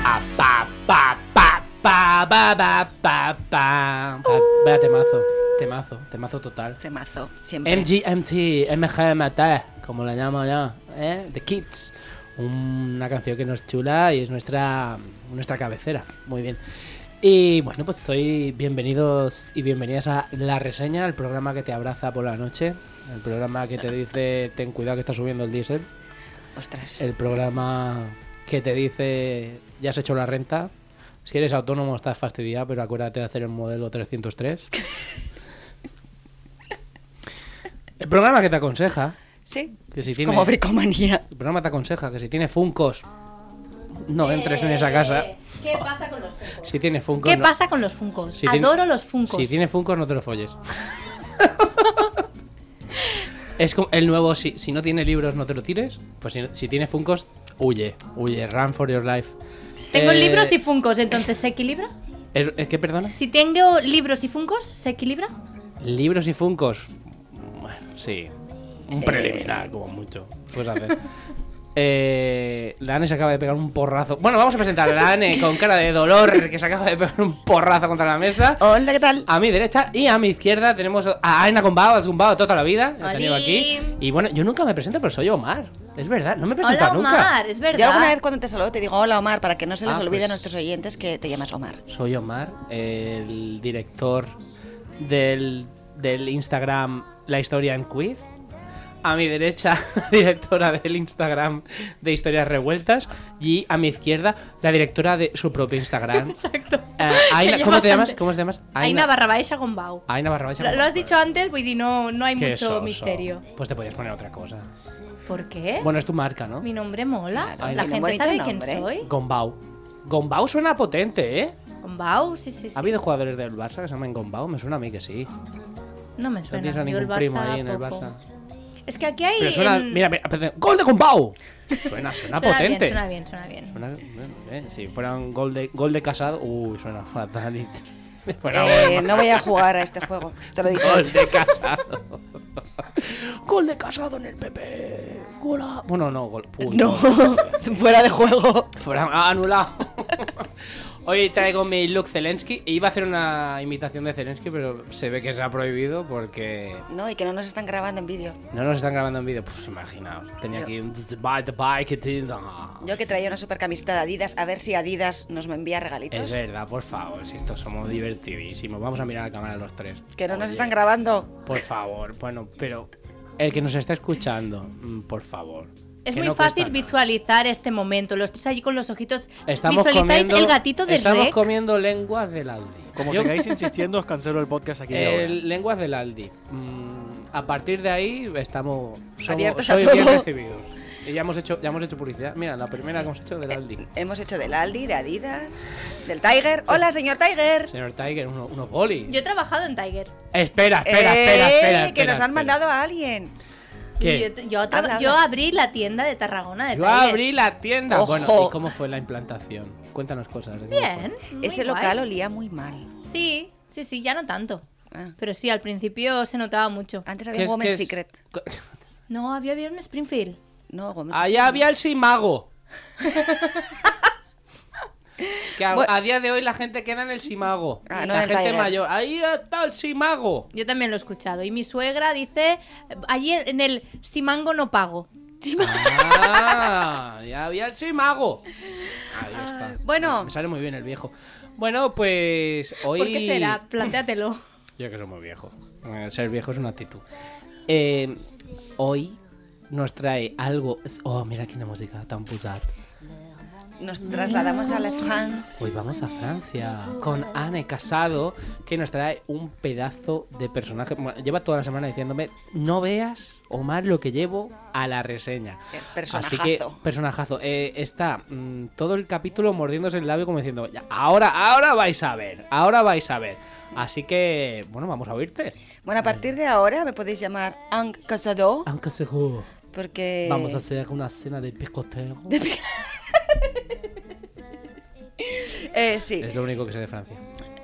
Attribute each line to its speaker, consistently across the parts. Speaker 1: Pa, pa, pa, pa, pa, pa, pa, pa, pa. Pa- Vaya temazo, temazo, temazo total.
Speaker 2: Temazo, siempre.
Speaker 1: MGMT, MGMT, como la llamo ya, ¿eh? The Kids. Una canción que nos chula y es nuestra, nuestra cabecera. Muy bien. Y bueno, pues soy bienvenidos y bienvenidas a La Reseña, el programa que te abraza por la noche, el programa que te dice ten cuidado que está subiendo el diésel.
Speaker 2: Ostras.
Speaker 1: el programa que te dice ya has hecho la renta. Si eres autónomo estás fastidiado, pero acuérdate de hacer el modelo 303. El programa que te aconseja,
Speaker 2: Sí.
Speaker 1: que si
Speaker 2: es
Speaker 1: tiene-
Speaker 2: como bricomanía.
Speaker 1: el programa te aconseja que si tienes funcos no entres en esa casa.
Speaker 3: Eh, ¿Qué pasa con los Funkos?
Speaker 1: Si tienes funcos,
Speaker 3: ¿Qué pasa con los Funkos?
Speaker 1: Si tiene-
Speaker 3: Adoro los Funkos.
Speaker 1: si tienes funcos no te lo folles. Es como el nuevo, si, si no tiene libros no te lo tires, pues si, no- si tiene funcos, huye, huye, run for your life.
Speaker 3: Tengo
Speaker 1: Eh,
Speaker 3: libros y Funkos, entonces se equilibra.
Speaker 1: Es, es que, perdona,
Speaker 3: Si tengo libros y Funkos, se equilibra.
Speaker 1: Pues libros y funcos. Bueno, sí.
Speaker 3: Eh.
Speaker 1: Un preliminar, como mucho. Puedes hacer. Eh, la Ane se acaba de pegar un porrazo. Bueno, vamos a presentar a la Ane con cara de dolor que se acaba de pegar un porrazo contra la mesa.
Speaker 2: Hola, ¿qué tal?
Speaker 1: A mi derecha y a mi izquierda tenemos a Aina Gumbao, has Gumbao toda la vida. la he tenido aquí.
Speaker 3: Oli.
Speaker 1: Y bueno, yo nunca me presento, pero soy Omar. Es verdad, no me presento
Speaker 3: Hola
Speaker 1: nunca.
Speaker 3: Omar, es verdad.
Speaker 2: Yo alguna vez cuando te saludo te digo hola Omar para que no se les
Speaker 1: Ah,
Speaker 2: olvide
Speaker 1: pues-
Speaker 2: a nuestros oyentes que te llamas Omar.
Speaker 1: Soy Omar, el director del, del Instagram La Historia en Quiz. A mi derecha, directora del Instagram de Historias Revueltas. Y a mi izquierda, la directora de su propio Instagram.
Speaker 3: Exacto.
Speaker 1: Eh, Aina-
Speaker 3: lleva
Speaker 1: ¿Cómo te llamas?
Speaker 3: bastante.
Speaker 1: ¿Cómo te llamas?
Speaker 3: Aina barra baixa con Bau.
Speaker 1: Aina Barra Baixa.
Speaker 3: Lo, lo has dicho antes, voy a decir, no, no hay
Speaker 1: Qué
Speaker 3: mucho
Speaker 1: soso.
Speaker 3: misterio.
Speaker 1: Pues te podías poner otra cosa.
Speaker 3: ¿Por qué?
Speaker 1: Bueno, es tu marca, ¿no?
Speaker 3: Mi nombre mola.
Speaker 2: Claro, tiene un
Speaker 3: La gente
Speaker 2: bonito
Speaker 3: sabe
Speaker 2: nombre.
Speaker 3: quién soy.
Speaker 1: Gombau. Gombau suena potente, ¿eh?
Speaker 3: Con Bau, sí, sí, sí.
Speaker 1: ¿Ha habido jugadores del Barça que se llaman Gombau? Me suena a mí que sí.
Speaker 3: No me
Speaker 1: No
Speaker 3: suena.
Speaker 1: tienes a
Speaker 3: Yo
Speaker 1: ningún
Speaker 3: el Barça,
Speaker 1: primo ahí en el
Speaker 3: poco.
Speaker 1: Barça.
Speaker 3: Es que aquí hay.
Speaker 1: Pero suena,
Speaker 3: en-
Speaker 1: mira, mira, perdón, gol de Gombau. Suena, suena,
Speaker 3: suena
Speaker 1: potente.
Speaker 3: Bien, suena bien, suena bien.
Speaker 1: Suena- bueno, eh, si fuera un gol de, gol de casado, uy, suena fatal. Fuera
Speaker 2: Eh,
Speaker 1: gol,
Speaker 2: no voy a jugar a este juego, te lo digo.
Speaker 1: gol de casado. gol de casado en el PP. Gola. Bueno, no, gol. uy,
Speaker 2: No, fuera de juego.
Speaker 1: Fuera ah, anulado. Hoy traigo mi look Zelensky. Iba a hacer una imitación de Zelensky, pero se ve que se ha prohibido porque
Speaker 2: No, y que no nos están grabando en vídeo.
Speaker 1: no nos están grabando en vídeo. Pues imaginaos. Tenía aquí un... Es
Speaker 2: Yo que traía una super camiseta de Adidas, a ver si Adidas nos me envía regalitos.
Speaker 1: verdad, por favor. Si estos somos divertidísimos. Vamos a mirar a la cámara los tres.
Speaker 2: Que no nos
Speaker 1: Oye,
Speaker 2: están grabando.
Speaker 1: Por favor. Bueno, pero... El que nos está escuchando, mm, por favor.
Speaker 3: Es
Speaker 1: que
Speaker 3: muy
Speaker 1: no cuesta
Speaker 3: fácil
Speaker 1: nada.
Speaker 3: visualizar este momento. Los tres allí con los ojitos.
Speaker 1: Estamos
Speaker 3: Visualizáis
Speaker 1: comiendo,
Speaker 3: el gatito del
Speaker 1: Estamos
Speaker 3: rec.
Speaker 1: comiendo lenguas del Aldi.
Speaker 4: Como
Speaker 1: Yo-
Speaker 4: sigáis insistiendo, os cancelo el podcast aquí y ahora.
Speaker 1: El lenguas del Aldi. Mm, a partir de ahí estamos somos-
Speaker 2: Abiertos a
Speaker 1: sois
Speaker 2: todo.
Speaker 1: bien recibidos. Y ya hemos hecho ya hemos hecho publicidad. Mira, la primera que hemos hecho
Speaker 2: Eh,
Speaker 1: del Aldi.
Speaker 2: Hemos hecho del Aldi, de Adidas, del Tiger. Hola, señor Tiger.
Speaker 1: Señor Tiger, uno- unos bolis.
Speaker 3: Yo he trabajado en Tiger.
Speaker 1: Espera, espera, espera,
Speaker 2: Eh,
Speaker 1: espera,
Speaker 2: que
Speaker 1: espera,
Speaker 2: nos han
Speaker 1: espera.
Speaker 2: mandado a alguien.
Speaker 1: ¿Qué?
Speaker 3: Yo, yo tra-
Speaker 2: Habla, habla.
Speaker 3: yo abrí la tienda de Tarragona de
Speaker 1: Yo
Speaker 3: Tiger.
Speaker 1: abrí la tienda.
Speaker 2: Ojo.
Speaker 1: Bueno, ¿y cómo fue la implantación? Cuéntanos cosas. de cómo
Speaker 3: Bien. muy
Speaker 2: Ese
Speaker 3: guay.
Speaker 2: local olía muy mal.
Speaker 3: Sí, sí, sí, ya no tanto.
Speaker 2: Ah.
Speaker 3: Pero sí, al principio se notaba mucho.
Speaker 2: Antes
Speaker 1: fue.
Speaker 2: había
Speaker 1: ¿Qué
Speaker 2: un
Speaker 1: es- qué
Speaker 2: Women's
Speaker 1: es-
Speaker 2: Secret.
Speaker 1: co-
Speaker 3: No, había, había un Springfield.
Speaker 2: No, Women's
Speaker 1: Allá había el Simago. que a,
Speaker 2: Bueno.
Speaker 1: a día de hoy la gente queda en el Simago.
Speaker 2: Ah,
Speaker 1: Y
Speaker 2: no
Speaker 1: la
Speaker 2: en el
Speaker 1: gente
Speaker 2: Tiger.
Speaker 1: mayor. Ahí está el Simago.
Speaker 3: Yo también lo he escuchado. Y mi suegra dice, allí en el si mango no pago.
Speaker 1: Ah, ya había el Simago. Ahí está.
Speaker 2: Ah, bueno.
Speaker 1: Me sale muy bien el viejo. Bueno, pues hoy.
Speaker 3: ¿Por qué será? Plantéatelo.
Speaker 1: Yo que soy muy viejo. Eh, Ser viejo es una actitud. Eh, hoy nos trae algo. Oh, mira aquí la música tan pesada.
Speaker 2: nos trasladamos a la France.
Speaker 1: Hoy vamos a Francia con Anne Casado, que nos trae un pedazo de personaje. Bueno, lleva toda la semana diciéndome, no veas, Omar, lo que llevo a la reseña.
Speaker 2: Eh,
Speaker 1: Así que,
Speaker 2: Personajazo.
Speaker 1: personajazo. Eh, está mm, todo el capítulo mordiéndose el labio como diciendo, "Ya, ahora, ahora vais a ver, ahora vais a ver. Así que, bueno, vamos a oírte.
Speaker 2: Bueno, a partir de ahora me podéis llamar Ang Casado
Speaker 1: Aunque se
Speaker 2: porque
Speaker 1: Ah, Vamos a hacer una cena de picoteo.
Speaker 2: eh, sí.
Speaker 1: Es lo único que sé de Francia.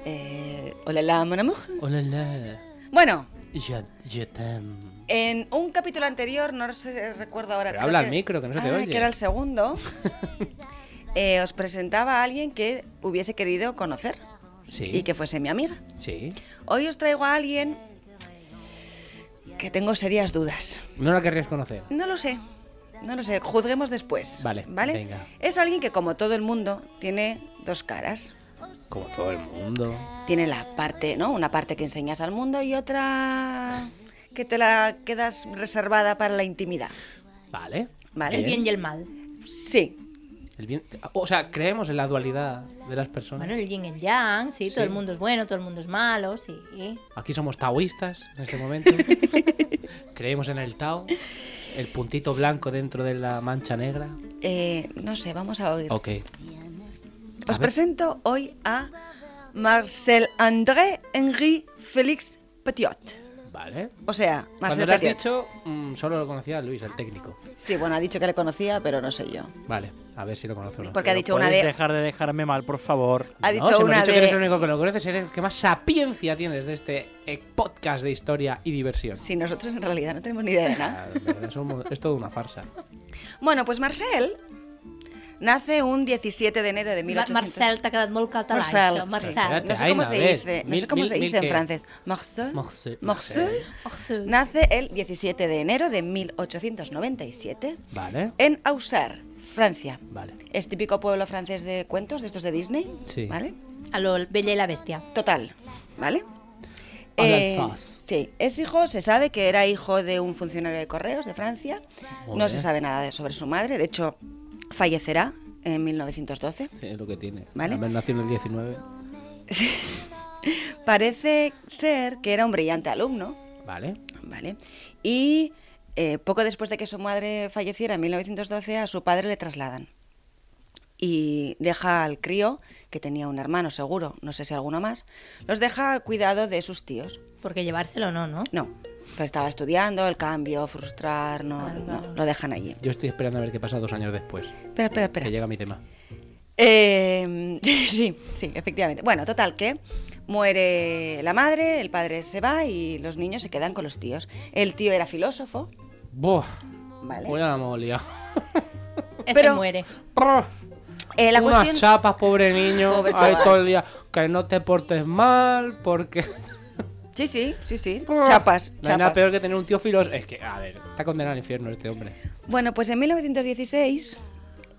Speaker 2: Eh, hola, la mon amour.
Speaker 1: Hola, hola.
Speaker 2: Bueno,
Speaker 1: Je, je t'aime.
Speaker 2: en un capítulo anterior, no sé, recuerdo ahora.
Speaker 1: Pero
Speaker 2: creo
Speaker 1: habla al
Speaker 2: que-
Speaker 1: micro, que no se te
Speaker 2: Ah,
Speaker 1: oye.
Speaker 2: Que era el segundo. Eh, os presentaba a alguien que hubiese querido conocer
Speaker 1: Sí.
Speaker 2: y que fuese mi amiga.
Speaker 1: Sí.
Speaker 2: Hoy os traigo a alguien que tengo serias dudas.
Speaker 1: No la querrías conocer.
Speaker 2: No lo sé. No lo sé, juzguemos después.
Speaker 1: Vale, venga.
Speaker 2: Es alguien que, como todo el mundo, tiene dos caras.
Speaker 1: Como todo el mundo.
Speaker 2: Tiene la parte, ¿no? Una parte que enseñas al mundo y otra que te la quedas reservada para la intimidad.
Speaker 1: Vale.
Speaker 2: Vale.
Speaker 3: El bien y el mal.
Speaker 2: Sí,
Speaker 1: El bien- O sea, creemos en la dualidad de las personas.
Speaker 3: Bueno, el yin y el yang, sí, todo
Speaker 1: Sí.
Speaker 3: el mundo es bueno, todo el mundo es malo, sí.
Speaker 1: Aquí somos taoístas en este momento. creemos en el Tao. El puntito blanco dentro de la mancha negra.
Speaker 2: eh, no sé, vamos a oír.
Speaker 1: Ok.
Speaker 2: Os
Speaker 1: ver.
Speaker 2: presento hoy a Marcel André Henri Félix Petiot.
Speaker 1: Vale.
Speaker 2: O sea,
Speaker 1: Cuando
Speaker 2: Marcel
Speaker 1: lo has
Speaker 2: Petiot.
Speaker 1: dicho, mm, solo lo conocía Luis, el técnico.
Speaker 2: Sí, bueno, ha dicho que le conocía, pero no sé yo.
Speaker 1: Vale, a ver si lo conoce o no.
Speaker 2: Porque ha
Speaker 4: Pero
Speaker 2: dicho una
Speaker 4: podéis
Speaker 2: de.
Speaker 4: dejar de dejarme mal, por favor.
Speaker 2: Ha
Speaker 1: No,
Speaker 2: dicho
Speaker 1: si hemos
Speaker 2: una
Speaker 1: dicho que
Speaker 2: de.
Speaker 1: eres el único que lo conoces, eres el que más sapiencia tienes de este eh, podcast de historia y diversión.
Speaker 2: Sí, nosotros en realidad no tenemos ni idea de nada.
Speaker 1: Ah, en verdad, somos- es todo una farsa.
Speaker 2: Bueno, pues Marcel nace un 17 de enero de
Speaker 3: Mar
Speaker 2: 1800.
Speaker 3: Marcel t'ha quedat molt català,
Speaker 2: Marcel,
Speaker 3: això.
Speaker 2: sí.
Speaker 3: Marcel.
Speaker 1: Espérate,
Speaker 2: No sé
Speaker 1: ay,
Speaker 2: cómo
Speaker 1: no,
Speaker 2: se
Speaker 1: a ver,
Speaker 2: dice, no
Speaker 1: mil-
Speaker 2: sé cómo
Speaker 1: mil-
Speaker 2: se
Speaker 1: mil
Speaker 2: dice en
Speaker 1: qué.
Speaker 2: francés. Marcel.
Speaker 1: Marcel,
Speaker 2: Marcel
Speaker 3: Oh, sí.
Speaker 2: nace el 17 de enero de 1897
Speaker 1: Vale,
Speaker 2: en Auxerre, Francia.
Speaker 1: vale.
Speaker 2: Es típico pueblo francés de cuentos, de estos de Disney.
Speaker 1: Sí.
Speaker 2: ¿Vale?
Speaker 3: A lo Bella i la Bèstia.
Speaker 2: Total, ¿vale? Eh,
Speaker 1: Al Alsace.
Speaker 2: sí, es hijo, se sabe que era hijo de un funcionario de correos de Francia.
Speaker 1: Muy
Speaker 2: No se
Speaker 1: bien.
Speaker 2: sabe nada de- sobre su madre, de hecho, fallecerá en 1912.
Speaker 1: Sí, es lo que tiene.
Speaker 2: Vale.
Speaker 1: Además, nació en el 19.
Speaker 2: Parece ser que era un brillante alumno,
Speaker 1: Vale.
Speaker 2: ¿vale? Y eh, poco después de que su madre falleciera en 1912, a su padre le trasladan. Y deja al crío, que tenía un hermano seguro, no sé si alguno más, los deja al cuidado de sus tíos.
Speaker 3: Porque llevárselo no, ¿no?
Speaker 2: No, pues estaba estudiando, el cambio, frustrar, no, Ah, no, lo dejan allí.
Speaker 1: Yo estoy esperando a ver qué pasa dos años después.
Speaker 2: Espera, espera,
Speaker 1: Que
Speaker 2: espera.
Speaker 1: llega mi tema.
Speaker 2: Eh, sí, sí, efectivamente. Bueno, total, que muere la madre, el padre se va y los niños se quedan con los tíos. El tío era filósofo,
Speaker 1: Buah,
Speaker 2: ¿vale?
Speaker 1: voy a la molia.
Speaker 3: Ese
Speaker 2: Pero-
Speaker 3: muere.
Speaker 2: Eh, la
Speaker 1: Unas
Speaker 2: cuestión...
Speaker 1: chapas, pobre niño.
Speaker 2: Pobre
Speaker 1: ahí
Speaker 2: chaval.
Speaker 1: todo el día. Que no te portes mal, porque.
Speaker 2: Sí, sí, sí, sí.
Speaker 1: Buah.
Speaker 2: Chapas,
Speaker 1: No hay nada
Speaker 2: chapas.
Speaker 1: Ah, peor que tener un tío filos. Es que, a ver, está condenado al infierno este hombre.
Speaker 2: Bueno, pues en 1916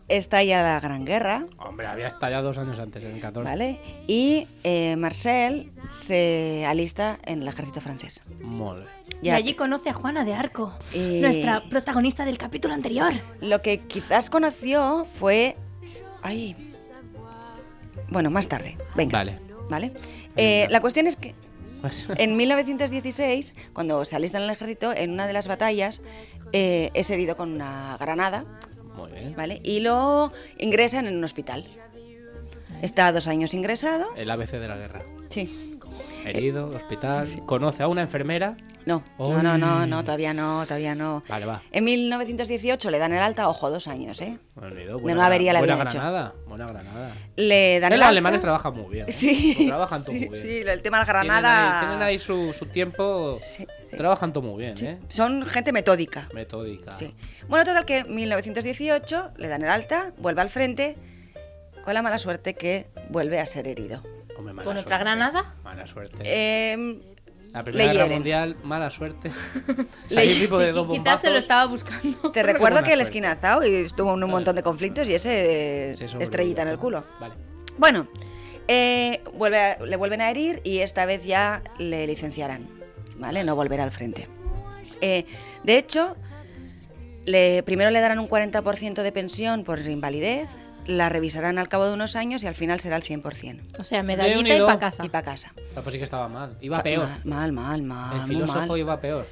Speaker 2: estalla la Gran Guerra,
Speaker 1: Hombre, había estallado dos años antes, en el 14.
Speaker 2: ¿vale? Y eh, Marcel se alista en el ejército francés.
Speaker 1: Mole.
Speaker 3: Y allí conoce a Juana de Arco,
Speaker 2: Eh.
Speaker 3: nuestra protagonista del capítulo anterior.
Speaker 2: Lo que quizás conoció fue. Ay. Bueno, más tarde. Venga.
Speaker 1: Vale.
Speaker 2: Vale. Eh, la cuestión es que
Speaker 1: Pues-
Speaker 2: en 1916, cuando se alista en el ejército, en una de las batallas, eh, es herido con una granada,
Speaker 1: Muy bien.
Speaker 2: ¿vale? Y lo ingresan en un hospital. Está dos años ingresado.
Speaker 1: El ABC de la guerra.
Speaker 2: Sí.
Speaker 1: Herido, hospital. Conoce a una enfermera.
Speaker 2: No, no, no, no, no, todavía no, todavía no.
Speaker 1: Vale, va.
Speaker 2: En 1918 le dan el alta, ojo, dos años, ¿eh?
Speaker 1: Bueno, herido,
Speaker 2: Menuda avería le
Speaker 1: buena
Speaker 2: habían hecho.
Speaker 1: granada. Buena granada.
Speaker 2: Le dan
Speaker 1: Eh,
Speaker 2: el
Speaker 1: Los
Speaker 2: alta.
Speaker 1: alemanes trabajan muy bien. ¿eh?
Speaker 2: Sí.
Speaker 1: Lo trabajan todo
Speaker 2: sí,
Speaker 1: muy bien.
Speaker 2: sí, el tema de la
Speaker 1: Tienen
Speaker 2: Granada.
Speaker 1: ahí- Tienen ahí, su, su tiempo.
Speaker 2: Sí, sí.
Speaker 1: Trabajan todo muy bien, ¿eh?
Speaker 2: Son gente metódica.
Speaker 1: Metódica.
Speaker 2: Sí. Bueno, total que 1918 le dan el alta, vuelve al frente, con la mala suerte que vuelve a ser herido.
Speaker 1: Hombre, mala
Speaker 3: ¿Con otra
Speaker 1: suerte.
Speaker 3: granada?
Speaker 1: Mala suerte.
Speaker 2: Em,
Speaker 1: la Primera
Speaker 2: le
Speaker 1: Guerra
Speaker 2: hieren.
Speaker 1: Mundial, mala suerte.
Speaker 2: Le-
Speaker 1: Hay un tipo de
Speaker 3: Sí,
Speaker 1: dos
Speaker 3: quizás se lo
Speaker 1: bombazos.
Speaker 3: estaba buscando.
Speaker 2: te
Speaker 1: Buena
Speaker 2: recuerdo que el
Speaker 1: suerte.
Speaker 2: esquinazao y estuvo en un montón de conflictos y ese eh,
Speaker 1: Sí, sobrevivió.
Speaker 2: estrellita en el culo.
Speaker 1: Vale.
Speaker 2: Bueno, eh, vuelve a- le vuelven a herir y esta vez ya le licenciarán, ¿vale? No volverá al frente. Eh, de hecho, le, primero le darán un 40% de pensión por invalidez, la revisarán al cabo de unos años y al final será el 100%.
Speaker 3: O sea, medallita y
Speaker 1: Unido.
Speaker 3: para casa.
Speaker 2: Y para casa.
Speaker 1: Ah, Pues sí que estaba mal. Iba
Speaker 2: Fa-
Speaker 1: peor.
Speaker 2: Mal, mal, mal, mal.
Speaker 1: el
Speaker 2: muy
Speaker 1: filósofo
Speaker 2: mal.
Speaker 1: iba peor.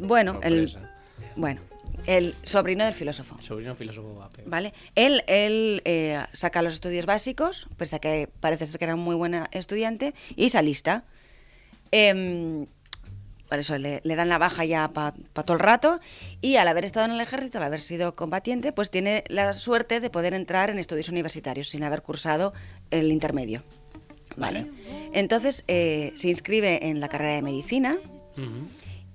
Speaker 2: Bueno, el,
Speaker 1: Sorpresa.
Speaker 2: bueno, el sobrino del filósofo.
Speaker 1: El sobrino filósofo va peor.
Speaker 2: ¿Vale? Él, él eh, saca los estudios básicos, pese a que parece ser que era un muy buena estudiante, y se alista. Em, por eso le, le dan la baja ya para todo el rato, y al haber estado en el ejército, al haber sido combatiente, pues tiene la suerte de poder entrar en estudios universitarios sin haber cursado el intermedio. ¿Vale? Entonces eh, se inscribe en la carrera de medicina
Speaker 1: Ujú.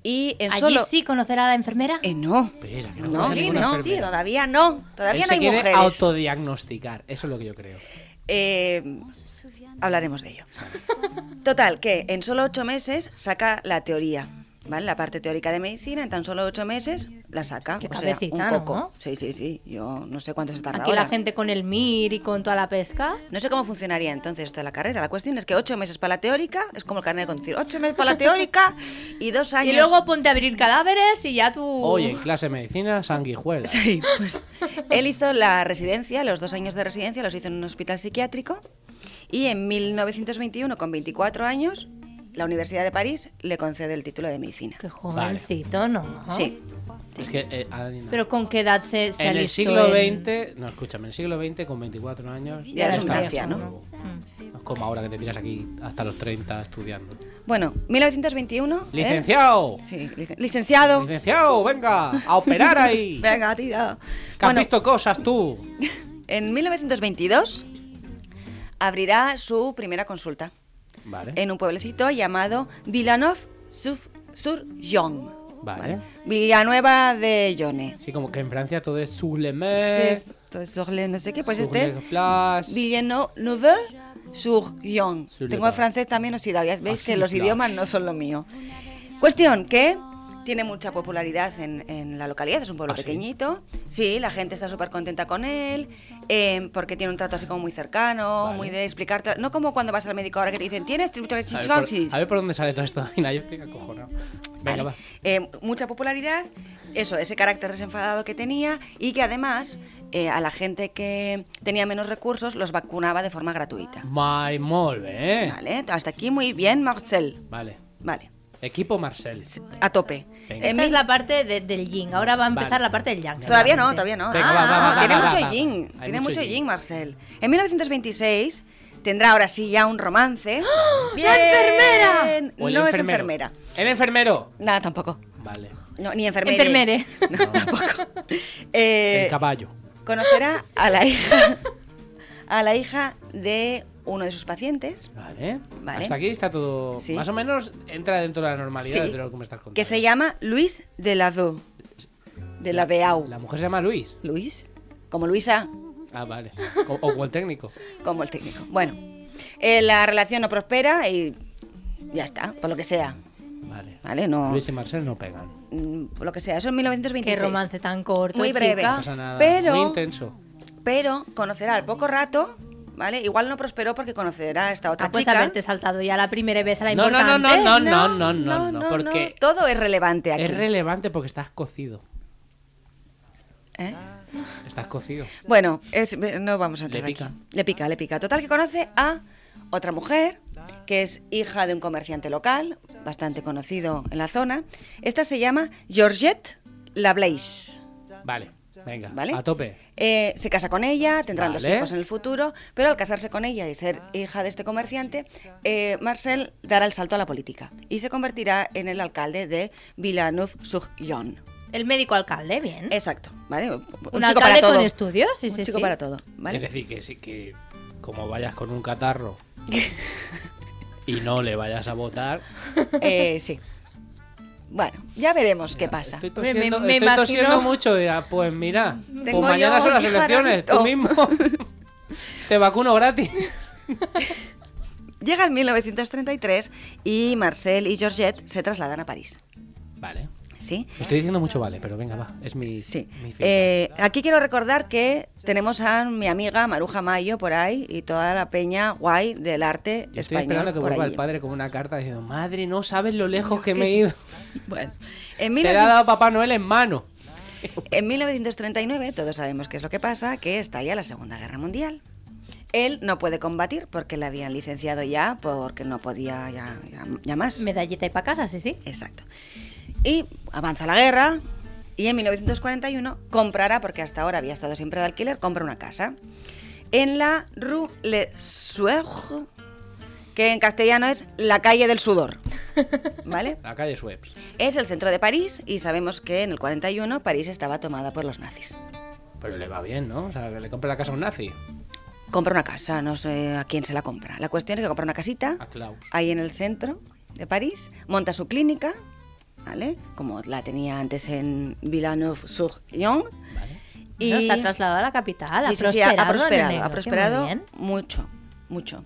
Speaker 2: y en
Speaker 3: Allí
Speaker 2: solo.
Speaker 3: sí conocerá a la enfermera.
Speaker 2: Eh, no.
Speaker 1: Espera, que no,
Speaker 2: No,
Speaker 1: conoce ninguna
Speaker 2: no,
Speaker 1: enfermera.
Speaker 2: todavía no, todavía
Speaker 1: Él
Speaker 2: no
Speaker 1: se
Speaker 2: hay
Speaker 1: quiere
Speaker 2: mujeres.
Speaker 1: autodiagnosticar. Eso es lo que yo creo.
Speaker 2: Eh, hablaremos de ello. Total, que en solo ocho meses saca la teoría, ¿vale? La parte teórica de medicina, en tan solo ocho meses la saca.
Speaker 3: Qué
Speaker 2: o sea,
Speaker 3: cabecita,
Speaker 2: un poco.
Speaker 3: ¿no?
Speaker 2: Sí, sí, sí. Yo no sé cuánto se tarda
Speaker 3: Aquí
Speaker 2: ahora.
Speaker 3: la gente con el MIR y con toda la pesca.
Speaker 2: No sé cómo funcionaría entonces esto de la carrera. La cuestión es que ocho meses para la teórica, es como el carnet de conducir, ocho meses para la teórica y dos años...
Speaker 3: Y luego ponte a abrir cadáveres y ya tú.
Speaker 1: Oye, en clase de medicina, sanguijuela.
Speaker 2: Sí, pues. Él hizo la residencia, los dos años de residencia los hizo en un hospital psiquiátrico y en 1921, con 24 años, la Universidad de París le concede el título de medicina.
Speaker 3: Qué jovencito, ¿no?
Speaker 2: Sí,
Speaker 1: Es que, eh, Adina,
Speaker 3: Pero con qué edad se, se
Speaker 1: en el
Speaker 3: alistó
Speaker 1: siglo
Speaker 3: en-
Speaker 1: XX, no, escúchame, en el siglo XX con 24 años
Speaker 2: Ya eres un
Speaker 1: estabas
Speaker 2: anciano.
Speaker 1: como-
Speaker 3: Mm.
Speaker 1: No es como ahora que te tiras aquí hasta los 30 estudiando.
Speaker 2: bueno, 1921... ¿eh?
Speaker 1: ¡Licenciado!
Speaker 2: Sí, licen- licenciado.
Speaker 1: ¡Licenciado, venga! ¡A operar ahí! que
Speaker 2: Venga, tira.
Speaker 1: has
Speaker 2: Bueno,
Speaker 1: visto cosas tú?
Speaker 2: en 1922 abrirá su primera consulta
Speaker 1: Vale.
Speaker 2: en un pueblecito llamado Villanov-sur-Yonne.
Speaker 1: Vale.
Speaker 2: Villanueva de Yonne.
Speaker 1: Sí, como que en Francia todo es sous le
Speaker 2: Sí,
Speaker 1: mains,
Speaker 2: es- entonces, sur les- no sé qué, pues
Speaker 1: sous
Speaker 2: este es
Speaker 1: les places.
Speaker 2: Villeneuve sur Yon.
Speaker 1: Sur
Speaker 2: Tengo el
Speaker 1: les-
Speaker 2: francés también oxidado, ya veis
Speaker 1: Ah,
Speaker 2: que
Speaker 1: sí,
Speaker 2: los
Speaker 1: claro.
Speaker 2: idiomas no son lo mío. Cuestión que tiene mucha popularidad en, en la localidad, es un pueblo
Speaker 1: Ah, ¿sí?
Speaker 2: pequeñito. Sí, la gente está súper contenta con él, eh, porque tiene un trato así como muy cercano,
Speaker 1: Vale.
Speaker 2: muy de explicarte. No como cuando vas al médico ahora que te dicen, tienes tributos
Speaker 1: A ver, por, a ver por dónde sale todo esto, Adina, yo estoy acojonado. Venga, va.
Speaker 2: eh, mucha popularidad, eso, ese carácter desenfadado que tenía y que además eh, a la gente que tenía menos recursos los vacunaba de forma gratuita.
Speaker 1: My molve, ¿eh?
Speaker 2: Vale, hasta aquí muy bien, Marcel.
Speaker 1: Vale.
Speaker 2: Vale,
Speaker 1: Equipo Marcel.
Speaker 2: s- a tope.
Speaker 1: Venga.
Speaker 3: Esta
Speaker 2: En
Speaker 3: es
Speaker 2: mil-
Speaker 3: la parte de- del yin. Ahora va a empezar
Speaker 1: Vale.
Speaker 3: la parte del yang.
Speaker 2: Todavía no, todavía no. Ah,
Speaker 1: Venga, va, va, va, va,
Speaker 2: tiene
Speaker 1: va,
Speaker 2: mucho
Speaker 1: va, va.
Speaker 2: yin,
Speaker 1: Hay
Speaker 2: tiene
Speaker 1: mucho
Speaker 2: mucho
Speaker 1: yin.
Speaker 2: yin, Marcel. En 1926 tendrá ahora sí ya un romance. ¡Bien!
Speaker 3: ¡La enfermera!
Speaker 1: ¡Ah! O el
Speaker 2: No es
Speaker 1: enfermero.
Speaker 2: enfermera.
Speaker 1: ¡El enfermero!
Speaker 2: Nada, tampoco.
Speaker 1: Vale.
Speaker 2: No, ni enfermera.
Speaker 3: Enfermere.
Speaker 2: No, tampoco. Eh,
Speaker 1: El caballo.
Speaker 2: conocerá a la hija a la hija de uno de sus pacientes
Speaker 1: Vale.
Speaker 2: Vale.
Speaker 1: Hasta aquí está todo.
Speaker 2: Sí.
Speaker 1: Más o menos entra dentro de la normalidad
Speaker 2: Sí.
Speaker 1: de lo que me estás contando.
Speaker 2: que se llama Luis de la Veu de la Beau
Speaker 1: La mujer se llama Luis.
Speaker 2: Luis como Luisa
Speaker 1: Ah, vale. O, o como el técnico.
Speaker 2: como el técnico bueno eh, la relación no prospera y ya está por lo que sea
Speaker 1: Vale.
Speaker 2: vale no
Speaker 1: Luis y Marcel no pegan.
Speaker 2: mm, por lo que sea eso en
Speaker 3: Qué
Speaker 2: 1926
Speaker 3: romance tan corto.
Speaker 2: Muy breve.
Speaker 1: No
Speaker 3: chica. Pues
Speaker 1: pasa nada.
Speaker 2: pero-
Speaker 1: Muy intenso.
Speaker 2: pero conocerá al poco rato vale igual no prosperó porque conocerá a esta otra
Speaker 3: Ah, pues
Speaker 2: chica
Speaker 3: haberte saltado ya la primera vez a la
Speaker 1: No, no,
Speaker 3: importante.
Speaker 1: no, no, no, no, no, no, porque
Speaker 2: todo es relevante aquí
Speaker 1: es relevante porque estás cocido.
Speaker 2: ¿eh?
Speaker 1: Estás cocido.
Speaker 2: Bueno, es- no vamos a
Speaker 1: Le
Speaker 2: entrar
Speaker 1: pica.
Speaker 2: aquí. Le pica, le pica. Total que conoce a otra mujer que es hija de un comerciante local, bastante conocido en la zona. Esta se llama Georgette Lablaise.
Speaker 1: Vale. Venga.
Speaker 2: ¿Vale?
Speaker 1: A tope.
Speaker 2: Eh, se casa con ella, tendrán dos
Speaker 1: Vale.
Speaker 2: hijos en el futuro, pero al casarse con ella y ser hija de este comerciante, eh, Marcel dará el salto a la política y se convertirá en el alcalde de Villeneuve-sur-Yonne.
Speaker 3: El médico alcalde,
Speaker 1: ¿Mm?
Speaker 3: bien.
Speaker 1: Eh,
Speaker 2: Exacto, ¿vale? Un,
Speaker 3: un
Speaker 2: chico
Speaker 3: alcalde
Speaker 2: para todo.
Speaker 3: con estudios, sí,
Speaker 2: un
Speaker 3: sí,
Speaker 2: chico
Speaker 3: sí.
Speaker 2: para todo, ¿vale?
Speaker 1: Es decir, que sí que como vayas con un catarro y no le vayas a votar.
Speaker 2: Eh, sí. Bueno, ya veremos qué pasa.
Speaker 1: Estoy
Speaker 3: Me- me-
Speaker 1: tosiendo,
Speaker 3: me
Speaker 1: estoy
Speaker 3: imagino-
Speaker 1: tosiendo mucho. Dirá, pues mira, pues
Speaker 2: Tengo
Speaker 1: mañana
Speaker 2: yo
Speaker 1: son las
Speaker 2: aquí
Speaker 1: elecciones. Tú
Speaker 2: jarabito.
Speaker 1: mismo te vacuno gratis.
Speaker 2: Llega el 1933 y Marcel y Georgette se trasladan a París.
Speaker 1: Vale.
Speaker 2: ¿Sí?
Speaker 1: Estoy diciendo mucho vale, pero venga, va. Es mi.
Speaker 2: Sí.
Speaker 1: mi fin.
Speaker 2: Eh, aquí quiero recordar que tenemos a mi amiga Maruja Mayo por ahí y toda la peña guay del arte
Speaker 1: Yo estoy
Speaker 2: español.
Speaker 1: esperando que
Speaker 2: por
Speaker 1: vuelva
Speaker 2: allí.
Speaker 1: el padre con una carta diciendo: Madre, no sabes lo lejos que me he ido.
Speaker 2: Bueno, en
Speaker 1: Se le ha
Speaker 2: 1900
Speaker 1: dado Papá Noel en mano.
Speaker 2: En 1939, todos sabemos qué es lo que pasa, que estalla la Segunda Guerra Mundial. Él no puede combatir porque le habían licenciado ya, porque no podía ya, ya- ya más.
Speaker 3: Medallita y pa' casa, sí, sí.
Speaker 2: Exacto. Y avanza la guerra y en 1941 comprará, porque hasta ahora había estado siempre de alquiler, compra una casa en la Rue Le Sueur, que en castellano es la calle del sudor. ¿Vale?
Speaker 1: La calle Suebs.
Speaker 2: Es el centro de París y sabemos que en el 41 París estaba tomada por los nazis.
Speaker 1: Pero le va bien, ¿no? O sea, que le compra la casa a un nazi.
Speaker 2: Compra una casa, no sé a quién se la compra. La cuestión es que compra una casita
Speaker 1: A Klaus.
Speaker 2: ahí en el centro de París, monta su clínica, ¿vale? Como la tenía antes en Villeneuve-sur-Yonne.
Speaker 1: Vale.
Speaker 2: Y...
Speaker 3: No, se ha trasladado a la capital.
Speaker 2: Sí,
Speaker 3: ha
Speaker 2: sí, sí, ha- ha
Speaker 3: prosperado,
Speaker 2: prosperado,
Speaker 3: nene,
Speaker 2: ha
Speaker 3: qué
Speaker 2: prosperado
Speaker 3: muy bien.
Speaker 2: mucho, mucho.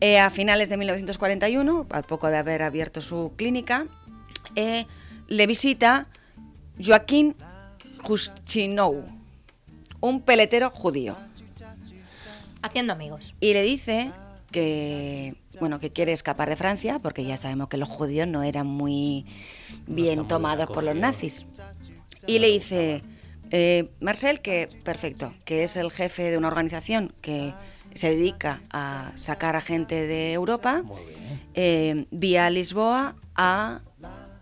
Speaker 2: Eh, a finales de 1941, al poco de haber abierto su clínica, eh, le visita Joaquín Juschinow, un peletero judío,
Speaker 3: Haciendo amigos.
Speaker 2: y le dice que bueno que quiere escapar de Francia porque ya sabemos que los judíos no eran muy bien
Speaker 1: muy
Speaker 2: tomados
Speaker 1: bien
Speaker 2: por los
Speaker 1: acogidos.
Speaker 2: nazis. Y le dice, eh, Marcel, que perfecto, que es el jefe de una organización que se dedica a sacar a gente de Europa
Speaker 1: Muy bien.
Speaker 2: eh, vía Lisboa a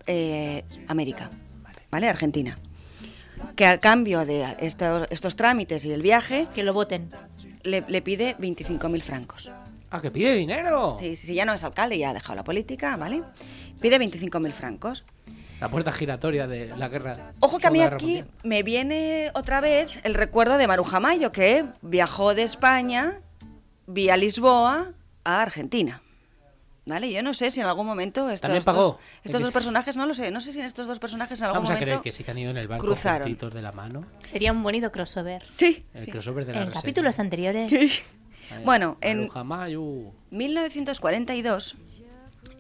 Speaker 2: eh, América, ¿vale? Argentina. Que a cambio de estos, estos trámites y el viaje,
Speaker 3: Que lo voten.
Speaker 2: le, le pide 25.000 francos.
Speaker 1: ¡Ah, que pide dinero!
Speaker 2: Sí, sí, sí, ya no es alcalde, ya ha dejado la política, ¿vale? Pide 25.000 francos.
Speaker 1: La puerta giratoria de la guerra.
Speaker 2: Ojo que a mí
Speaker 1: Segunda Guerra
Speaker 2: aquí
Speaker 1: Mundial.
Speaker 2: me viene otra vez el recuerdo de Maruja Mayo, que viajó de España vía Lisboa a Argentina. ¿Vale? Yo no sé si en algún momento estos,
Speaker 1: También pagó.
Speaker 2: dos, estos dos personajes, no lo sé, no sé si en estos dos personajes en algún
Speaker 1: Vamos a
Speaker 2: momento...
Speaker 1: creer que sí que han ido en el barco
Speaker 2: cruzaron.
Speaker 1: juntitos de la mano.
Speaker 3: Sería un bonito crossover.
Speaker 2: Sí,
Speaker 1: El
Speaker 2: sí.
Speaker 1: crossover de la
Speaker 3: En
Speaker 1: reseña.
Speaker 3: capítulos anteriores.
Speaker 1: Ahí,
Speaker 2: Bueno, en-
Speaker 1: Maruja Mayu.
Speaker 2: 1942,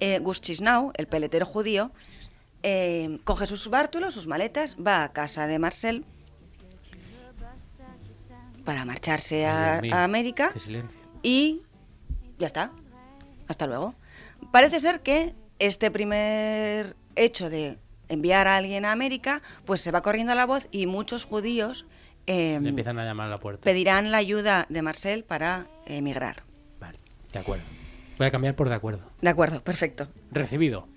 Speaker 2: eh, Guschisnau, el peletero judío, eh, coge sus bártulos, sus maletas, va a casa de Marcel para marcharse a,
Speaker 1: Ay, Dios mío,
Speaker 2: a América
Speaker 1: Qué silencio.
Speaker 2: y ya está. Hasta luego. Parece ser que este primer hecho de enviar a alguien a América, pues se va corriendo la voz y muchos judíos eh,
Speaker 1: Le empiezan a llamar a la puerta.
Speaker 2: pedirán la ayuda de Marcel para emigrar.
Speaker 1: Vale, de acuerdo. Voy a cambiar por de acuerdo.
Speaker 2: De acuerdo, perfecto.
Speaker 1: Recibido.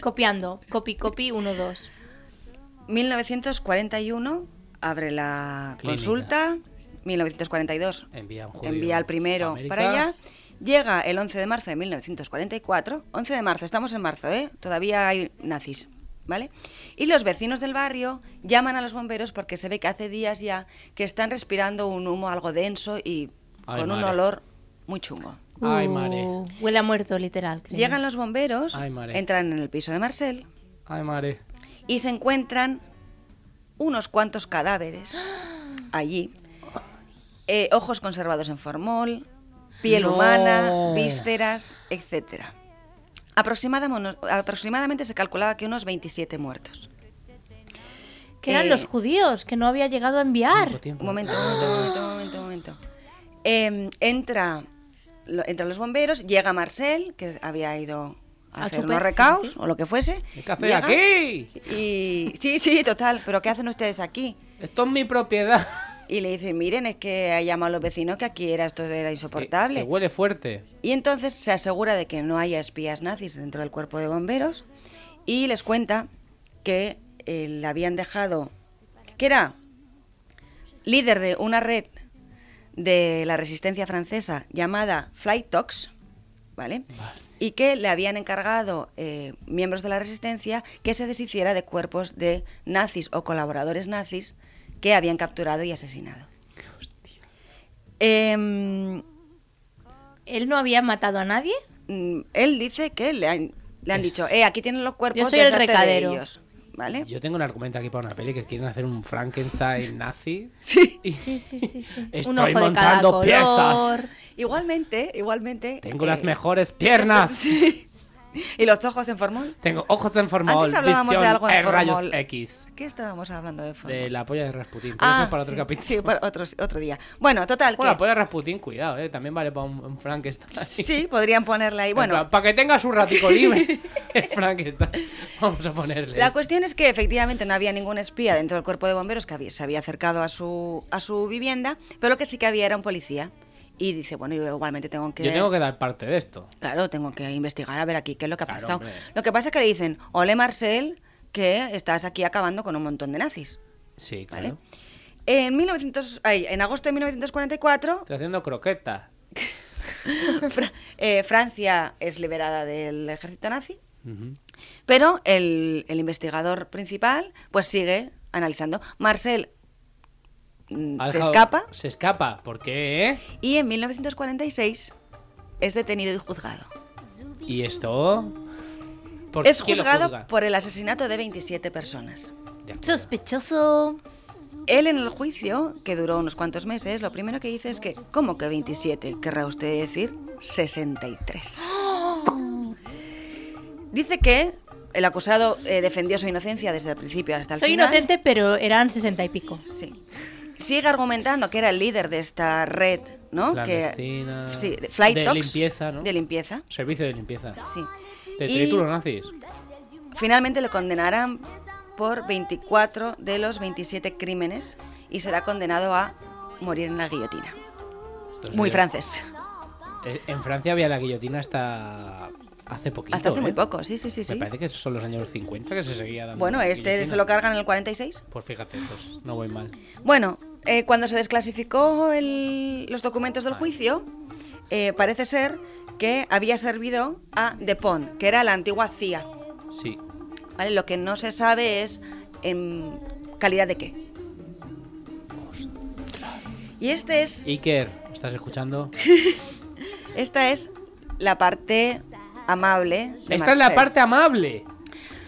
Speaker 3: Copiando. Copy, copy, uno, dos.
Speaker 2: 1941 abre la
Speaker 1: Clínica.
Speaker 2: consulta, 1942
Speaker 1: Envía a un judío
Speaker 2: envía al primero
Speaker 1: a América.
Speaker 2: para allá, llega el 11 de marzo de 1944, 11 de marzo, estamos en marzo, ¿eh? todavía hay nazis, ¿vale? Y los vecinos del barrio llaman a los bomberos porque se ve que hace días ya que están respirando un humo algo denso y
Speaker 1: Ay,
Speaker 2: con un
Speaker 1: madre.
Speaker 2: olor muy chungo.
Speaker 1: Ay, mare.
Speaker 3: Uh, Huele a muerto, literal. creo.
Speaker 2: Llegan los bomberos,
Speaker 1: Ay, madre.
Speaker 2: entran en el piso de Marcel
Speaker 1: Ay, madre.
Speaker 2: y se encuentran unos cuantos cadáveres allí. Eh, ojos conservados en formol, piel
Speaker 1: No.
Speaker 2: humana, vísceras, etc. aproximadamente se calculaba que unos 27 muertos.
Speaker 3: Que eran
Speaker 2: Eh,
Speaker 3: los judíos que no había llegado a enviar.
Speaker 1: Poco tiempo.
Speaker 2: Un momento,
Speaker 3: Ah.
Speaker 2: un momento, un momento, un momento. un momento. Em, entra, lo- entran los bomberos, llega Marcel, que había ido a,
Speaker 3: A
Speaker 2: hacer
Speaker 3: chupar,
Speaker 2: unos
Speaker 3: sí,
Speaker 2: recaos
Speaker 3: sí.
Speaker 2: o lo que fuese.
Speaker 1: ¿Qué hace
Speaker 2: llega
Speaker 1: aquí?
Speaker 2: Y sí, sí, total, pero ¿qué hacen ustedes aquí?
Speaker 1: Esto es mi propiedad.
Speaker 2: Y le dicen, miren, es que ha llamado a los vecinos que aquí era esto era
Speaker 1: Que,
Speaker 2: insoportable.
Speaker 1: que huele fuerte.
Speaker 2: Y entonces se asegura de que no haya espías nazis dentro del cuerpo de bomberos y les cuenta que eh, le habían dejado, que era líder de una red de la resistencia francesa llamada Flight Talks, ¿vale? Y que le habían encargado eh, miembros de la resistencia que se deshiciera de cuerpos de nazis o colaboradores nazis que habían capturado y asesinado. Em,
Speaker 3: Él no había matado a nadie.
Speaker 2: Mm, él dice que le han, le han dicho, eh, aquí tienen los cuerpos,
Speaker 3: Yo soy el
Speaker 2: deshazte de
Speaker 3: recadero".
Speaker 2: ellos", ¿Vale?
Speaker 1: Yo tengo un argumento aquí para una peli que quieren hacer un Frankenstein nazi.
Speaker 2: Sí.
Speaker 1: Y
Speaker 3: Sí, sí, sí. sí.
Speaker 1: Estoy
Speaker 3: Un ojo de cada
Speaker 1: montando
Speaker 3: color.
Speaker 1: piezas.
Speaker 2: Igualmente, igualmente.
Speaker 1: Tengo
Speaker 2: eh,
Speaker 1: las mejores piernas.
Speaker 2: Sí. ¿Y los ojos en formol?
Speaker 1: Tengo ojos en formol.
Speaker 2: Antes hablábamos de
Speaker 1: visión
Speaker 2: algo en
Speaker 1: en rayos
Speaker 2: formol.
Speaker 1: X.
Speaker 2: ¿Qué estábamos hablando de formol?
Speaker 1: De la polla de Rasputin. Pero eso
Speaker 2: Ah,
Speaker 1: es para otro
Speaker 2: sí,
Speaker 1: capítulo.
Speaker 2: Sí, para otro, otro día. Bueno, total,
Speaker 1: Bueno, la
Speaker 2: que
Speaker 1: polla de Rasputin, cuidado, eh. También vale para un, un Frankenstein.
Speaker 2: sí, podrían ponerla ahí. Bueno,
Speaker 1: Para que tenga su ratico libre. Frankenstein. Vamos a ponerle.
Speaker 2: La
Speaker 1: esto.
Speaker 2: cuestión es que efectivamente no había ningún espía dentro del cuerpo de bomberos que había- se había acercado a su, a su vivienda, pero lo que sí que había era un policía. Y dice, bueno, yo igualmente tengo que...
Speaker 1: Yo tengo que dar parte de esto.
Speaker 2: Claro, tengo que investigar a ver aquí qué es lo que ha
Speaker 1: Claro,
Speaker 2: pasado.
Speaker 1: hombre.
Speaker 2: Lo que pasa es que le dicen, ole Marcel, que estás aquí acabando con un montón de nazis.
Speaker 1: Sí, claro.
Speaker 2: ¿Vale? En, 1900, ay, en agosto de 1944,
Speaker 1: Estoy haciendo croquetas.
Speaker 2: Fra- eh, Francia es liberada del ejército nazi,
Speaker 1: Ujú.
Speaker 2: pero el, el investigador principal pues sigue analizando. Marcel mm,
Speaker 1: Ha
Speaker 2: se
Speaker 1: dejado-
Speaker 2: escapa
Speaker 1: Se escapa. ¿Por qué? eh?
Speaker 2: y en 1946 es detenido y juzgado.
Speaker 1: ¿Y esto? ¿Por
Speaker 2: Es
Speaker 1: quién lo
Speaker 2: juzgado
Speaker 1: juzga?
Speaker 2: por el asesinato de 27 personas.
Speaker 1: De acuerdo.
Speaker 3: Sospechoso.
Speaker 2: Él en el juicio, que duró unos cuantos meses, lo primero que dice es que, ¿cómo que 27? Querrá usted decir 63. Dice que el acusado eh, defendió su inocencia desde el principio hasta el
Speaker 3: Soy
Speaker 2: final.
Speaker 3: inocente, pero eran sesenta y pico.
Speaker 2: Sí. Sigue argumentando que era el líder de esta red, ¿no? Que,
Speaker 1: Clandestina,
Speaker 2: sí, de Flight
Speaker 1: de
Speaker 2: Talks,
Speaker 1: limpieza, ¿no?
Speaker 2: De limpieza,
Speaker 1: Servicio de limpieza.
Speaker 2: sí.
Speaker 1: De
Speaker 2: Y-
Speaker 1: tripulos nazis.
Speaker 2: Finalmente lo condenarán por 24 de los 27 crímenes y será condenado a morir en la guillotina.
Speaker 1: Pues Esto es
Speaker 2: Muy
Speaker 1: de-
Speaker 2: francés.
Speaker 1: Eh, En Francia había la guillotina hasta hace poquito.
Speaker 2: Hasta hace muy
Speaker 1: ¿eh?
Speaker 2: poco, sí, sí, sí.
Speaker 1: Me
Speaker 2: sí.
Speaker 1: parece que son los años 50 que se seguía dando.
Speaker 2: Bueno,
Speaker 1: la
Speaker 2: este
Speaker 1: guillotina.
Speaker 2: se lo cargan en el 46.
Speaker 1: Pues fíjate, pues no voy mal.
Speaker 2: Bueno, eh, cuando se desclasificó el- los documentos del juicio, eh, parece ser que había servido a Depon, que era la antigua CIA.
Speaker 1: Sí.
Speaker 2: ¿vale? Lo que no se sabe es en calidad de qué. Y este es,
Speaker 1: Iker, ¿estás escuchando?
Speaker 2: esta es la parte amable. de
Speaker 1: Esta es la
Speaker 2: Marcel.
Speaker 1: parte amable.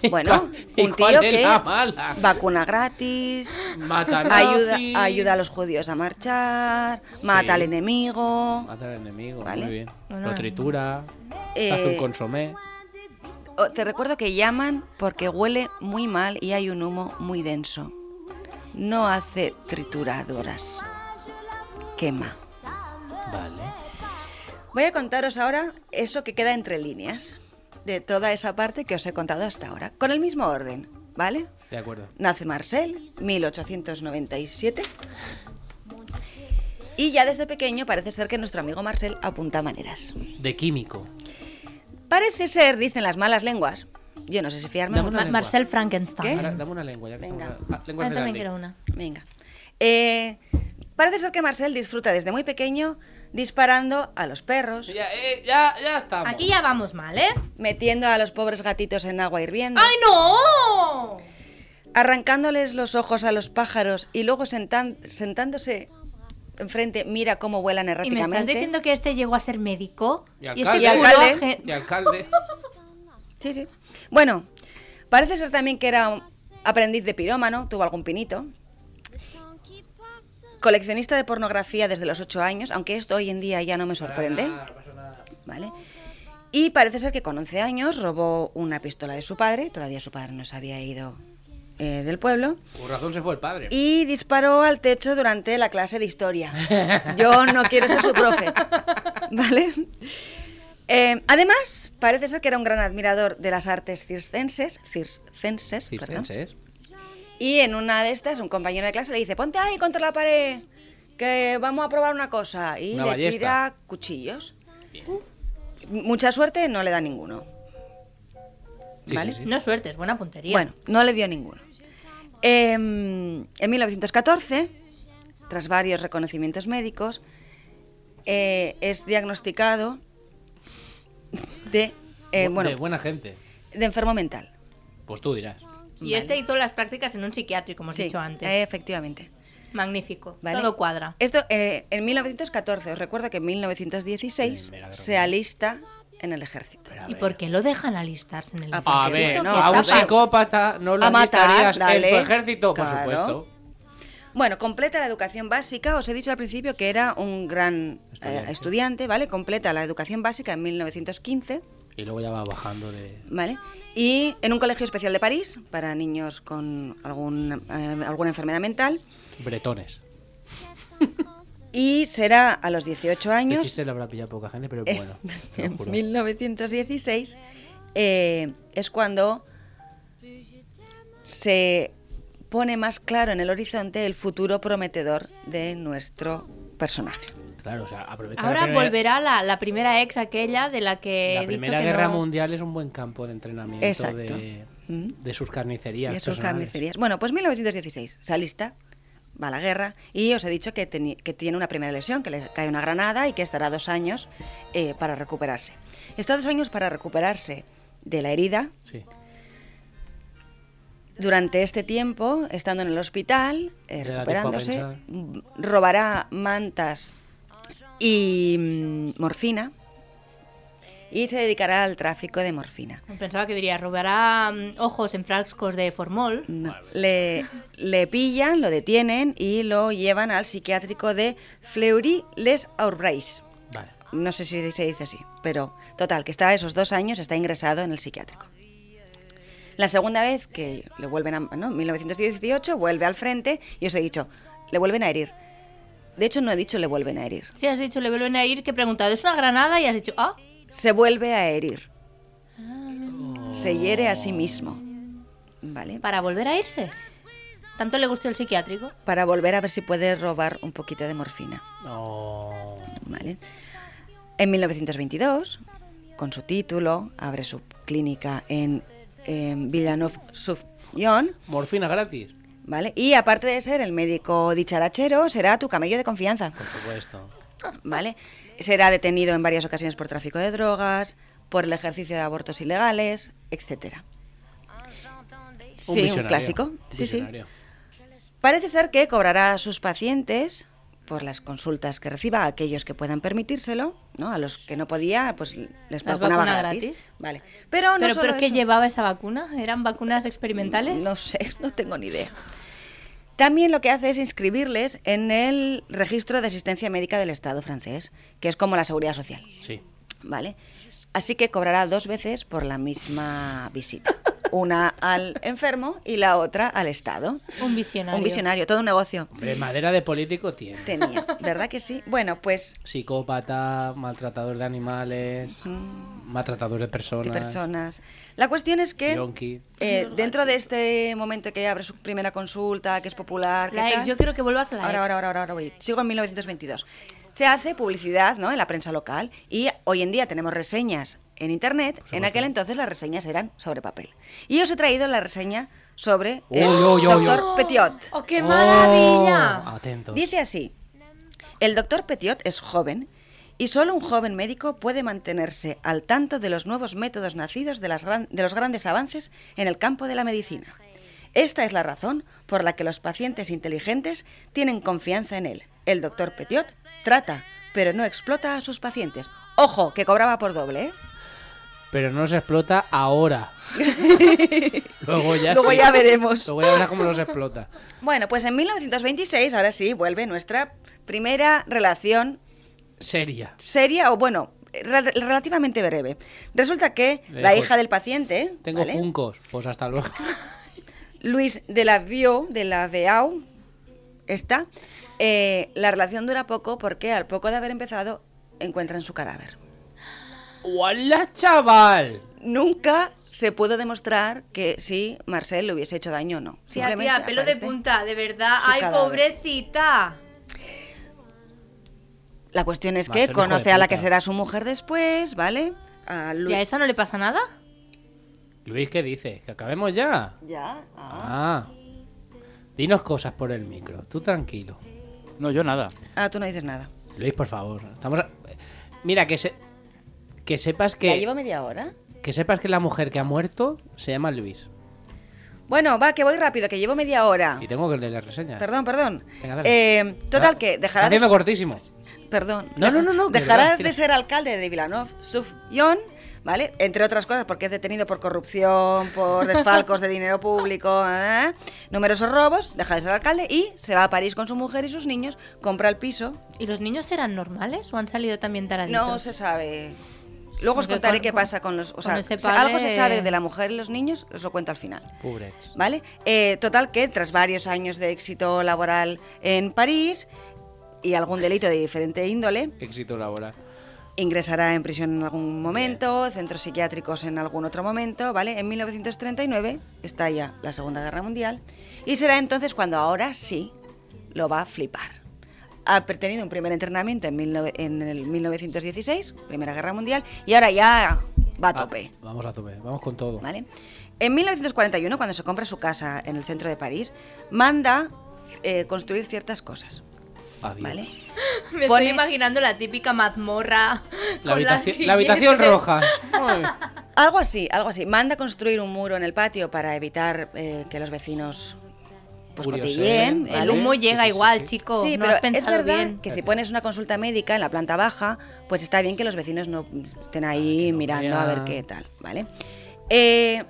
Speaker 2: Bueno,
Speaker 1: ¿Y
Speaker 2: un
Speaker 1: cuál
Speaker 2: tío
Speaker 1: es
Speaker 2: que
Speaker 1: la mala?
Speaker 2: vacuna gratis,
Speaker 1: Mata
Speaker 2: Ayuda,
Speaker 1: nazis.
Speaker 2: ayuda a los judíos a marchar, mata al enemigo.
Speaker 1: Mata al enemigo,
Speaker 2: Vale.
Speaker 1: muy bien.
Speaker 3: Bueno,
Speaker 1: lo tritura,
Speaker 2: eh,
Speaker 1: hace un consomé.
Speaker 2: Oh, Te recuerdo que llaman porque huele muy mal y hay un humo muy denso. No hace trituradoras. Quema.
Speaker 1: Vale.
Speaker 2: Voy a contaros ahora eso que queda entre líneas de toda esa parte que os he contado hasta ahora, con el mismo orden, ¿vale?
Speaker 1: De acuerdo.
Speaker 2: Nace Marcel, 1897. Y ya desde pequeño parece ser que nuestro amigo Marcel apunta maneras.
Speaker 1: De químico.
Speaker 2: Parece ser, dicen las malas lenguas. Yo no sé si fiarme.
Speaker 1: Dame
Speaker 2: o no.
Speaker 1: una
Speaker 3: Ma-
Speaker 1: lengua.
Speaker 3: Marcel Frankenstein.
Speaker 1: Ahora, dame una lengua, ya que
Speaker 2: ¿Eh? Venga.
Speaker 1: estamos... Ah, lengua
Speaker 3: Ah, yo también
Speaker 1: Ferrandi.
Speaker 3: quiero una.
Speaker 2: Venga. Eh, parece ser que Marcel disfruta desde muy pequeño disparando a los perros,
Speaker 1: Ya, eh, ya, ya estamos.
Speaker 3: Aquí ya vamos mal, ¿eh?
Speaker 2: metiendo a los pobres gatitos en agua hirviendo,
Speaker 3: ¡Ay, no!
Speaker 2: arrancándoles los ojos a los pájaros y luego sentan- sentándose enfrente, mira cómo vuelan
Speaker 3: ¿Y me
Speaker 2: erráticamente.
Speaker 3: estás diciendo que este llegó a ser médico?
Speaker 1: Y
Speaker 3: este
Speaker 1: alcalde.
Speaker 2: Y
Speaker 3: curó
Speaker 2: alcalde.
Speaker 3: gen-
Speaker 1: Y alcalde.
Speaker 2: Sí, sí. Bueno, parece ser también que era un aprendiz de pirómano, tuvo algún pinito. Coleccionista de pornografía desde los 8 años, aunque esto hoy en día ya no me sorprende.
Speaker 1: Nada, no pasa nada.
Speaker 2: ¿vale? Y parece ser que con 11 años robó una pistola de su padre, todavía su padre no se había ido eh, del pueblo,
Speaker 1: Por razón se fue el padre.
Speaker 2: y disparó al techo durante la clase de historia. Yo no quiero ser su profe, ¿vale? Eh, además, parece ser que era un gran admirador de las artes circenses, circenses, perdón.
Speaker 1: Circenses.
Speaker 2: Y en una de estas, un compañero de clase le dice, ponte ahí contra la pared, que vamos a probar una cosa. Y
Speaker 1: Una
Speaker 2: le
Speaker 1: ballesta.
Speaker 2: tira cuchillos. Mucha suerte, no le da ninguno.
Speaker 1: Sí,
Speaker 2: ¿Vale?
Speaker 1: sí, sí.
Speaker 3: No es suerte, es buena puntería.
Speaker 2: Bueno, no le dio ninguno. Em, en 1914, tras varios reconocimientos médicos, eh, es diagnosticado de, eh,
Speaker 1: Bu-
Speaker 2: bueno,
Speaker 1: De buena gente.
Speaker 2: de enfermo mental.
Speaker 1: Pues tú dirás.
Speaker 3: y este hizo las prácticas en un psiquiátrico, como hemos
Speaker 2: Sí,
Speaker 3: dicho antes.
Speaker 2: eh, Efectivamente.
Speaker 3: Magnífico.
Speaker 2: ¿vale?
Speaker 3: Todo cuadra.
Speaker 2: Esto eh, en 1914, os recuerdo que en 1916
Speaker 1: Primera Guerra
Speaker 2: se alista en el ejército.
Speaker 1: Pero a
Speaker 3: ¿Y
Speaker 1: ver.
Speaker 3: por qué lo dejan alistarse en el
Speaker 2: Ah,
Speaker 1: A
Speaker 2: Porque
Speaker 1: ver,
Speaker 2: dijo
Speaker 1: no,
Speaker 2: que
Speaker 1: a un
Speaker 2: estaba-
Speaker 1: psicópata no lo
Speaker 2: A matar,
Speaker 1: estarías en tu
Speaker 2: dale.
Speaker 1: ejército, por
Speaker 2: Claro.
Speaker 1: supuesto.
Speaker 2: Bueno, completa la educación básica. Os he dicho al principio que era un gran eh,
Speaker 1: Estudiante.
Speaker 2: estudiante, ¿vale? Completa la educación básica en 1915,
Speaker 1: Y luego ya va bajando de.
Speaker 2: ¿vale? Y en un colegio especial de París para niños con algún, eh, alguna enfermedad mental.
Speaker 1: Bretones.
Speaker 2: Y será a los 18
Speaker 1: Este
Speaker 2: años, Eh,
Speaker 1: chiste lo habrá pillado poca gente, pero es bueno. te lo
Speaker 2: en
Speaker 1: juro.
Speaker 2: 1916, eh, es cuando se pone más claro en el horizonte el futuro prometedor de nuestro personaje.
Speaker 1: Claro, o sea, aprovecha pues, la
Speaker 3: Ahora
Speaker 1: primera-
Speaker 3: volverá la, la primera ex aquella de la que
Speaker 1: La
Speaker 3: he dicho
Speaker 1: Primera
Speaker 3: que
Speaker 1: Guerra
Speaker 3: no-
Speaker 1: Mundial es un buen campo de entrenamiento
Speaker 2: Exacto.
Speaker 1: de,
Speaker 2: Mm.
Speaker 1: de sus carnicerías.
Speaker 2: Y a sus
Speaker 1: personales.
Speaker 2: carnicerías. Bueno, pues 1916, se alista, va a la guerra y os he dicho que, teni- que tiene una primera lesión, que le cae una granada y que estará dos años eh, para recuperarse. Está dos años para recuperarse de la herida.
Speaker 1: Sí.
Speaker 2: Durante este tiempo, estando en el hospital, eh,
Speaker 1: Le da
Speaker 2: recuperándose,
Speaker 1: tiempo a
Speaker 2: m- robará mantas y mm, morfina y se dedicará al tráfico de morfina.
Speaker 3: Pensaba que diría, robará mm, ojos en frascos de formol.
Speaker 2: No. Le, le pillan, lo detienen y lo llevan al psiquiátrico de Fleury-les-Aubrais.
Speaker 1: Vale.
Speaker 2: No sé si se dice así, pero total, que está esos dos años, está ingresado en el psiquiátrico. La segunda vez que le vuelven a... ¿no? 1918, vuelve al frente y os he dicho, le vuelven a herir. De hecho, no he dicho le vuelven a herir.
Speaker 3: Si has dicho, le vuelven a ir, que he preguntado, ¿es una granada? Y has dicho, ah,
Speaker 2: Se vuelve a herir. Se hiere a sí mismo. ¿Vale?
Speaker 3: para volver a irse. Tanto le gustó el psiquiátrico.
Speaker 2: Para volver a ver si puede robar un poquito de morfina.
Speaker 1: Oh,
Speaker 2: Vale. En 1922, con su título, abre su clínica en, en Villanov-Sufyon,
Speaker 1: morfina gratis,
Speaker 2: ¿vale? Y aparte de ser el médico dicharachero, será tu camello de confianza,
Speaker 1: por supuesto.
Speaker 2: ¿vale? Será detenido en varias ocasiones por tráfico de drogas, por el ejercicio de abortos ilegales, etcétera.
Speaker 1: Un
Speaker 2: sí, un
Speaker 1: visionario,
Speaker 2: clásico.
Speaker 1: un
Speaker 2: Sí, sí.
Speaker 1: visionario.
Speaker 2: Parece ser que cobrará a sus pacientes por las consultas que reciba a aquellos que puedan permitírselo, ¿no? A los que no podía, pues les vacunaba
Speaker 3: vacuna
Speaker 2: gratis.
Speaker 3: gratis.
Speaker 2: Vale. Pero no
Speaker 3: pero,
Speaker 2: solo
Speaker 3: pero ¿qué
Speaker 2: eso.
Speaker 3: llevaba esa vacuna? ¿Eran vacunas experimentales?
Speaker 2: No sé, no tengo ni idea. También lo que hace es inscribirles en el registro de asistencia médica del Estado francés, que es como la seguridad social,
Speaker 1: Sí.
Speaker 2: ¿vale? Así que cobrará dos veces por la misma visita. Una al enfermo y la otra al Estado.
Speaker 3: Un visionario.
Speaker 2: Un visionario, todo un negocio.
Speaker 1: Hombre, madera de político tiene.
Speaker 2: Tenía, ¿verdad que sí? Bueno, pues
Speaker 1: Psicópata, maltratador de animales, maltratador de personas.
Speaker 2: de personas. La cuestión es que
Speaker 1: Yonki.
Speaker 2: eh, dentro de este momento que abre su primera consulta, que es popular, que
Speaker 3: La
Speaker 2: tal,
Speaker 3: ex, yo quiero que vuelvas a la
Speaker 2: ahora,
Speaker 3: ex.
Speaker 2: ahora, ahora, ahora, ahora voy. Sigo en 1922. Se hace publicidad ¿no? en la prensa local y hoy en día tenemos reseñas en internet. En aquel entonces las reseñas eran sobre papel. Y os he traído la reseña sobre el
Speaker 1: Uy, uy, uy, uy.
Speaker 2: doctor Petiot.
Speaker 3: ¡Oh, qué
Speaker 1: Oh,
Speaker 3: maravilla!
Speaker 1: Atentos.
Speaker 2: Dice así, el doctor Petiot es joven y solo un joven médico puede mantenerse al tanto de los nuevos métodos nacidos de, las gran- de los grandes avances en el campo de la medicina. Esta es la razón por la que los pacientes inteligentes tienen confianza en él. El doctor Petiot trata, pero no explota a sus pacientes. Ojo, que cobraba por doble, ¿eh?
Speaker 1: Pero no se explota ahora. Luego ya
Speaker 2: Luego
Speaker 1: sí.
Speaker 2: ya veremos.
Speaker 1: Luego ya verás cómo los explota.
Speaker 2: Bueno, pues en 1926, ahora sí, vuelve nuestra primera relación
Speaker 1: Seria.
Speaker 2: seria o bueno, re- relativamente breve. Resulta que
Speaker 1: Le
Speaker 2: la
Speaker 1: dijo,
Speaker 2: hija del paciente,
Speaker 1: Tengo
Speaker 2: ¿vale?
Speaker 1: funcos. Pues hasta luego.
Speaker 2: Luis de la Vio, de la Veau, esta, eh, la relación dura poco porque al poco de haber empezado encuentran su cadáver.
Speaker 1: ¡Hola, chaval!
Speaker 2: Nunca se pudo demostrar que si Marcel le hubiese hecho daño o no.
Speaker 3: Tía,
Speaker 2: Simplemente
Speaker 3: tía, pelo de
Speaker 2: aparece.
Speaker 3: punta, de verdad.
Speaker 2: su
Speaker 3: ¡Ay,
Speaker 2: cadáver.
Speaker 3: pobrecita!
Speaker 2: La cuestión es
Speaker 1: Marcel,
Speaker 2: que
Speaker 1: hijo de
Speaker 2: conoce a la
Speaker 1: puta.
Speaker 2: que será su mujer después, ¿vale? A Lu-
Speaker 3: ¿Y a esa no le pasa nada?
Speaker 1: Luis, ¿qué dices? ¿Que acabemos ya?
Speaker 2: Ya, ah.
Speaker 1: Ah. Dinos cosas por el micro. Tú tranquilo.
Speaker 4: No, yo nada.
Speaker 2: Ah, tú no dices nada.
Speaker 1: Luis, por favor. Estamos. a- Mira, que se. Que sepas
Speaker 2: ¿Ya
Speaker 1: que.
Speaker 2: llevo media hora?
Speaker 1: Que sepas que la mujer que ha muerto se llama Luis.
Speaker 2: Bueno, va, que voy rápido, que llevo media hora.
Speaker 1: Y tengo que leer la reseña.
Speaker 2: Ah. Perdón, perdón.
Speaker 1: Ah. Venga, Ah, dale.
Speaker 2: Eh, total, que dejará
Speaker 1: Haciendo
Speaker 2: de,
Speaker 1: cortísimo.
Speaker 2: perdón,
Speaker 1: No, no, no, no, que
Speaker 2: dejará
Speaker 1: verdad,
Speaker 2: de
Speaker 1: tira.
Speaker 2: ser alcalde de Vilanov, Sufyon, ¿vale? Entre otras cosas, porque es detenido por corrupción, por desfalcos de dinero público, ¿eh? numerosos robos, deja de ser alcalde y se va a París con su mujer y sus niños, compra el piso.
Speaker 3: ¿Y los niños eran normales o han salido también taraditos?
Speaker 2: No se sabe. Luego os
Speaker 3: Porque
Speaker 2: contaré
Speaker 3: con-
Speaker 2: qué
Speaker 3: con-
Speaker 2: pasa con los... O
Speaker 3: con
Speaker 2: sea,
Speaker 3: ese
Speaker 2: si algo
Speaker 3: padre-
Speaker 2: se sabe de la mujer y los niños, os lo cuento al final.
Speaker 1: Pobre.
Speaker 2: ¿Vale? Eh, total que tras varios años de éxito laboral en París y algún delito de diferente índole,
Speaker 1: Éxito laboral.
Speaker 2: ingresará en prisión en algún momento, centros psiquiátricos en algún otro momento, ¿vale? En 1939 estalla la Segunda Guerra Mundial y será entonces cuando ahora sí lo va a flipar. Ha tenido un primer entrenamiento en, 19 en el 1916, Primera Guerra Mundial, y ahora ya va
Speaker 1: Ah,
Speaker 2: a tope.
Speaker 1: Va- vamos a tope, vamos con todo.
Speaker 2: ¿vale? En 1941, cuando se compra su casa en el centro de París, manda eh, construir ciertas cosas,
Speaker 1: Adiós.
Speaker 2: ¿vale?
Speaker 3: Me
Speaker 2: Pone-
Speaker 3: estoy imaginando la típica mazmorra.
Speaker 1: La,
Speaker 3: con las
Speaker 1: habitación, la habitación
Speaker 3: billetes.
Speaker 1: roja. Ay.
Speaker 2: Algo así, algo así. Manda construir un muro en el patio para evitar eh, que los vecinos pues,
Speaker 1: Curioso,
Speaker 2: cotilleen.
Speaker 1: ¿eh?
Speaker 3: El
Speaker 2: ¿vale?
Speaker 3: humo
Speaker 1: Sí,
Speaker 3: llega
Speaker 1: sí, sí,
Speaker 3: igual,
Speaker 1: sí.
Speaker 3: chico.
Speaker 2: Sí,
Speaker 3: no
Speaker 2: pero
Speaker 3: has
Speaker 2: es
Speaker 3: pensado
Speaker 2: verdad
Speaker 3: bien.
Speaker 2: que si pones una consulta médica en la planta baja, pues está bien que los vecinos no estén ahí
Speaker 1: Ah, no
Speaker 2: mirando a ver
Speaker 1: vean.
Speaker 2: qué tal, ¿vale? Eh,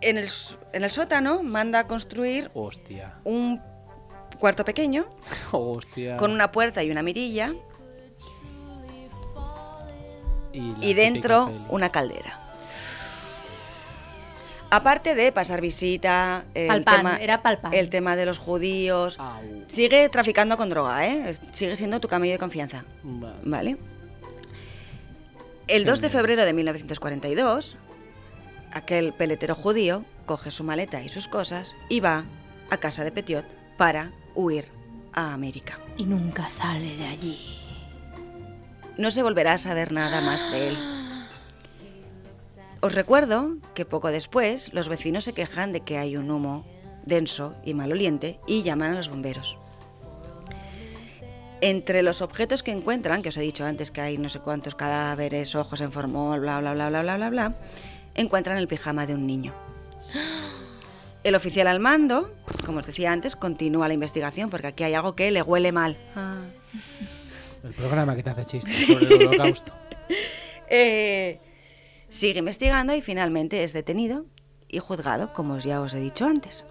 Speaker 2: en, el, s- en el sótano manda a construir
Speaker 1: Hostia.
Speaker 2: un cuarto pequeño
Speaker 1: Hostia.
Speaker 2: con una puerta y una mirilla
Speaker 1: la
Speaker 2: y dentro
Speaker 1: típica peli.
Speaker 2: una caldera. Aparte de pasar visita, el
Speaker 3: Palpan,
Speaker 2: tema,
Speaker 3: era palpan.
Speaker 2: el tema de los judíos,
Speaker 1: Au.
Speaker 2: sigue traficando con droga, ¿eh? Es- sigue siendo tu camello de confianza,
Speaker 1: Vale.
Speaker 2: ¿vale? El 2 de febrero de 1942, aquel peletero judío coge su maleta y sus cosas y va a casa de Petiot para huir a América.
Speaker 3: Y nunca sale de allí.
Speaker 2: No se volverá a saber nada más de él. Os recuerdo que poco después los vecinos se quejan de que hay un humo denso y maloliente y llaman a los bomberos. Entre los objetos que encuentran, que os he dicho antes que hay no sé cuántos cadáveres, ojos en formol, bla bla bla bla bla bla bla, encuentran el pijama de un niño. El oficial al mando, como os decía antes, continúa la investigación porque aquí hay algo que le huele mal.
Speaker 1: El programa que te hace chistes sobre el holocausto.
Speaker 2: Eh, sigue investigando y finalmente es detenido y juzgado, como os- ya os he dicho antes.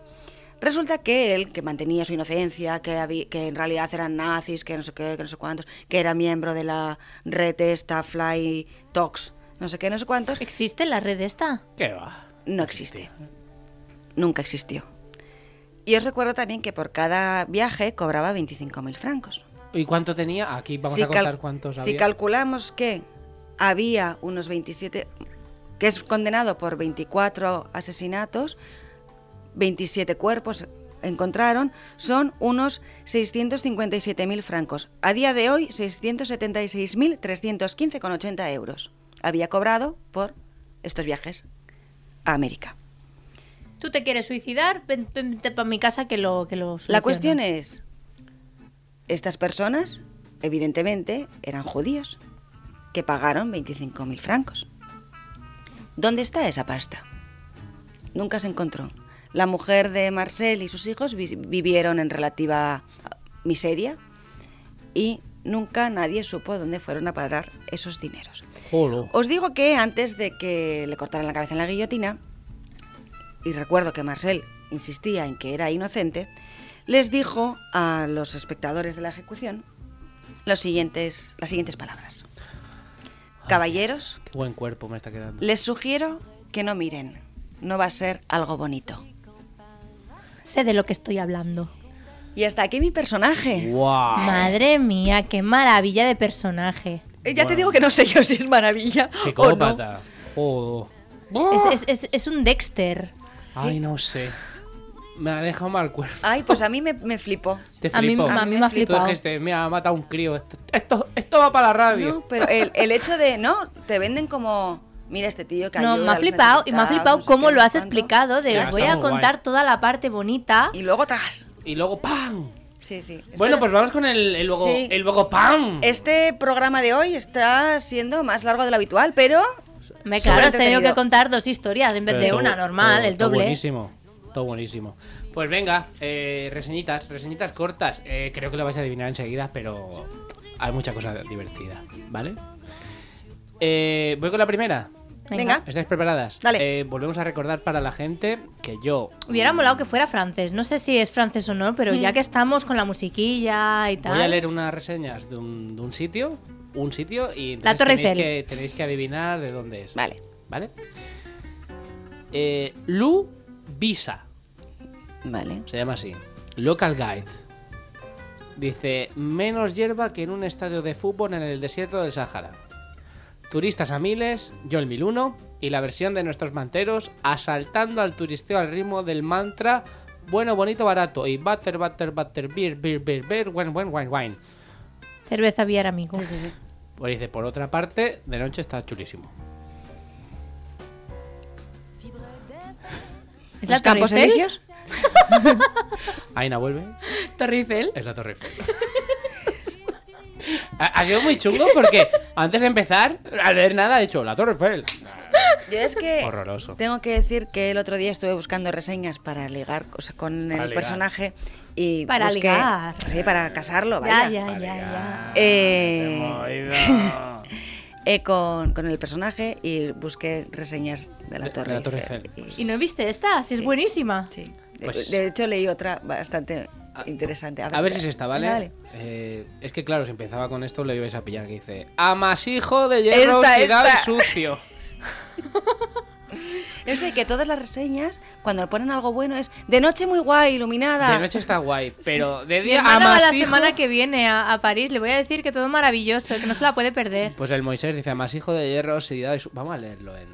Speaker 2: Resulta que él, que mantenía su inocencia, que, habí- que en realidad eran nazis, que no sé qué, que no sé cuántos, que era miembro de la red esta, Fly Talks, no sé qué, no sé cuántos,
Speaker 3: ¿Existe la red esta?
Speaker 1: ¿Qué va?
Speaker 2: no existe. Nunca existió. Y os recuerdo también que por cada viaje cobraba 25.000 francos.
Speaker 1: ¿Y cuánto tenía? Aquí vamos
Speaker 2: Si
Speaker 1: a contar
Speaker 2: cal-
Speaker 1: cuántos
Speaker 2: si
Speaker 1: había.
Speaker 2: calculamos que había unos 27, que es condenado por 24 asesinatos, 27 cuerpos encontraron, son unos 657.000 francos. A día de hoy, 676.315,80 euros. Había cobrado por estos viajes a América.
Speaker 3: ¿Tú te quieres suicidar? Ven- Vente para mi casa que lo que lo
Speaker 2: La
Speaker 3: soluciono.
Speaker 2: cuestión es, estas personas, evidentemente, eran judíos, que pagaron 25.000 francos. ¿Dónde está esa pasta? Nunca se encontró. La mujer de Marcel y sus hijos vi- vivieron en relativa miseria y nunca nadie supo dónde fueron a parar esos dineros.
Speaker 1: Jolo.
Speaker 2: Os digo que antes de que le cortaran la cabeza en la guillotina, y recuerdo que Marcel insistía en que era inocente, les dijo a los espectadores de la ejecución los siguientes, las siguientes palabras. Caballeros,
Speaker 1: Qué buen cuerpo me está quedando.
Speaker 2: les sugiero que no miren, no va a ser algo bonito.
Speaker 3: Sé de lo que estoy hablando.
Speaker 2: Y hasta aquí mi personaje.
Speaker 1: ¡Wow!
Speaker 3: Madre mía, qué maravilla de personaje.
Speaker 2: Eh, Ya te digo que no sé yo si es maravilla
Speaker 1: Psicópata. Jodo. Oh.
Speaker 3: Es, es- es- es un Dexter.
Speaker 2: o no.
Speaker 1: Ay,
Speaker 2: Sí.
Speaker 1: no sé. Me ha dejado mal cuerpo.
Speaker 2: Ay, pues a mí me, me flipó.
Speaker 1: Te
Speaker 3: A mí,
Speaker 1: flipó.
Speaker 3: a mí me ha
Speaker 1: Tú
Speaker 3: flipado.
Speaker 1: dijiste, mira, ha matado a un crío. Esto, esto, esto va para la radio.
Speaker 2: No, pero el, el hecho de, ¿no? Te venden como, mira este tío que
Speaker 3: No,
Speaker 2: ayuda
Speaker 3: me ha
Speaker 2: a los
Speaker 3: flipado y me ha
Speaker 2: necesitados,
Speaker 3: flipado
Speaker 2: no sé
Speaker 3: cómo
Speaker 2: qué,
Speaker 3: lo
Speaker 2: no
Speaker 3: has
Speaker 2: sé cuánto.
Speaker 3: explicado de
Speaker 1: Ya,
Speaker 3: os voy a
Speaker 1: estamos guay.
Speaker 3: contar toda la parte bonita.
Speaker 2: Y luego tras.
Speaker 1: Y luego ¡pam!
Speaker 2: Sí, sí.
Speaker 1: Bueno, pues vamos con el, el luego,
Speaker 2: Sí.
Speaker 1: el luego ¡pam!
Speaker 2: Este programa de hoy está siendo más largo de lo habitual, pero
Speaker 3: Me claro, has tenido
Speaker 2: entretenido.
Speaker 3: que contar dos historias en vez de
Speaker 1: Todo-
Speaker 3: una normal,
Speaker 1: todo-
Speaker 3: el
Speaker 1: todo
Speaker 3: doble.
Speaker 1: buenísimo, todo buenísimo. Pues venga, eh, reseñitas, reseñitas cortas. Eh, creo que lo vais a adivinar enseguida, pero hay mucha cosa divertida, ¿vale? Eh, Voy con la primera.
Speaker 2: venga.
Speaker 1: ¿Estáis preparadas?
Speaker 2: Dale.
Speaker 1: Eh, volvemos a recordar para la gente que yo.
Speaker 3: Hubiera molado que fuera francés. No sé si es francés o no, pero ya que estamos con la musiquilla y tal.
Speaker 1: Voy a leer unas reseñas de un, de un sitio, un sitio, y entonces
Speaker 3: La Torre
Speaker 1: tenéis,
Speaker 3: Eiffel.
Speaker 1: que, tenéis que adivinar de dónde es.
Speaker 2: Vale.
Speaker 1: ¿Vale? Eh, Lu Visa.
Speaker 2: Vale.
Speaker 1: Se llama así. Local Guide. Dice, menos hierba que en un estadio de fútbol en el desierto del Sahara. Turistas a miles, yo el 1001 y la versión de nuestros manteros asaltando al turisteo al ritmo del mantra bueno, bonito, barato y butter, butter, butter, beer, beer, beer, beer, wine, wine, wine, wine.
Speaker 3: Cerveza Viar, amigo.
Speaker 1: Pues dice, por otra parte, de noche está chulísimo.
Speaker 3: ¿Es
Speaker 2: ¿Los Campos
Speaker 3: Torre Eiffel?
Speaker 2: Elíseos?
Speaker 1: Aina vuelve,
Speaker 3: Torre Eiffel.
Speaker 1: es la Torre Eiffel. ha, ha sido muy chungo porque antes de empezar, al leer nada, he hecho la Torre Eiffel.
Speaker 2: Yo es que
Speaker 1: Horroroso.
Speaker 2: tengo que decir que el otro día estuve buscando reseñas para ligar o sea, con
Speaker 1: Para
Speaker 2: el
Speaker 1: ligar.
Speaker 2: personaje y
Speaker 3: Para
Speaker 2: busqué-
Speaker 3: ligar.
Speaker 2: Sí, para casarlo,
Speaker 3: Ya,
Speaker 2: vaya.
Speaker 3: ya, ya, ya.
Speaker 2: Eh,
Speaker 1: Te he movido.
Speaker 2: Eh, con, con el personaje y busqué reseñas de la
Speaker 1: De-
Speaker 2: Torre
Speaker 1: de la Torre
Speaker 2: Eiffel.
Speaker 1: Eiffel, pues.
Speaker 3: ¿Y no viste esta? Si es
Speaker 2: Sí.
Speaker 3: buenísima.
Speaker 2: Sí. De,
Speaker 1: Pues-
Speaker 2: de hecho, leí otra bastante
Speaker 1: A-
Speaker 2: interesante.
Speaker 1: A ver si es esta, ¿vale? Eh, es que claro, si empezaba con esto le ibais a pillar que dice Amasijo de hierro
Speaker 2: Esta,
Speaker 1: oxidado
Speaker 2: esta.
Speaker 1: sucio.
Speaker 2: Yo sé que todas las reseñas, cuando ponen algo bueno, es de noche muy guay, iluminada.
Speaker 1: De noche está guay, pero de
Speaker 3: Mi
Speaker 1: día
Speaker 3: hermana va la
Speaker 1: amasijo...
Speaker 3: semana que viene a, a París. Le voy a decir que todo maravilloso, que no se la puede perder.
Speaker 1: Pues el Moisés dice amasijo de hierro oxidado y sucio. Vamos a leerlo en,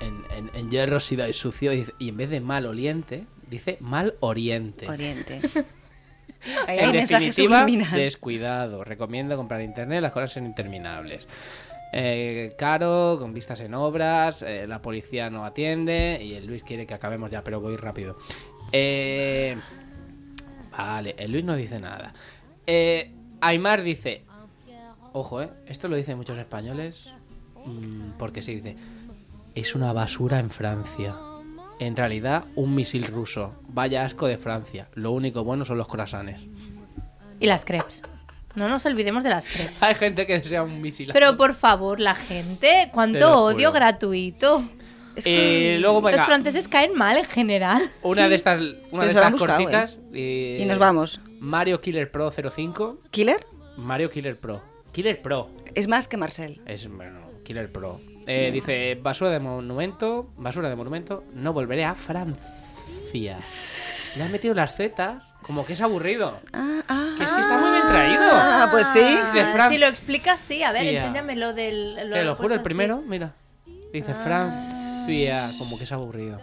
Speaker 1: en, en- en hierro oxidado y sucio y, dice- y en vez de mal oliente dice mal oriente.
Speaker 2: Oriente. Ahí hay
Speaker 1: este. En
Speaker 2: mensaje
Speaker 1: definitiva,
Speaker 2: subliminal.
Speaker 1: descuidado. Recomiendo comprar en internet, las cosas son interminables. Eh, caro, con vistas en obras, eh, la policía no atiende y el Luis quiere que acabemos ya, pero voy rápido. Eh, vale, el Luis no dice nada. Eh, Aymar dice, ojo, eh, esto lo dicen muchos españoles, mm, porque sí, dice, es una basura en Francia. En realidad, un misil ruso. Vaya asco de Francia. Lo único bueno son los corazones.
Speaker 3: Y las crepes. No nos olvidemos de las crepes.
Speaker 1: Hay gente que desea un misil.
Speaker 3: Pero por favor, la gente,
Speaker 1: Te lo
Speaker 3: cuánto
Speaker 1: juro.
Speaker 3: odio gratuito.
Speaker 2: Es
Speaker 1: Eh, luego, venga,
Speaker 3: Los franceses caen mal en general.
Speaker 1: una de estas, una
Speaker 2: se
Speaker 1: de
Speaker 2: lo
Speaker 1: estas
Speaker 2: han buscado,
Speaker 1: cortitas. eh,
Speaker 2: Y nos vamos.
Speaker 1: Mario Killer Pro 05.
Speaker 2: ¿Killer?
Speaker 1: Mario Killer Pro. Killer Pro.
Speaker 2: Es más que Marcel.
Speaker 1: Es, bueno, Killer Pro. Eh, Dice, basura de monumento, basura de monumento, no volveré a Francia. Le han metido las zetas, como que es aburrido.
Speaker 2: Ah, ah.
Speaker 1: Que es que está muy bien traído.
Speaker 2: Ah, pues sí.
Speaker 1: de Francia.
Speaker 3: Si lo explicas, sí. A ver,
Speaker 1: Tía.
Speaker 3: enséñame lo del.
Speaker 1: Te
Speaker 3: han
Speaker 1: lo juro,
Speaker 3: puesto
Speaker 1: el
Speaker 3: así.
Speaker 1: primero, mira. Dice Francia, como que es aburrido.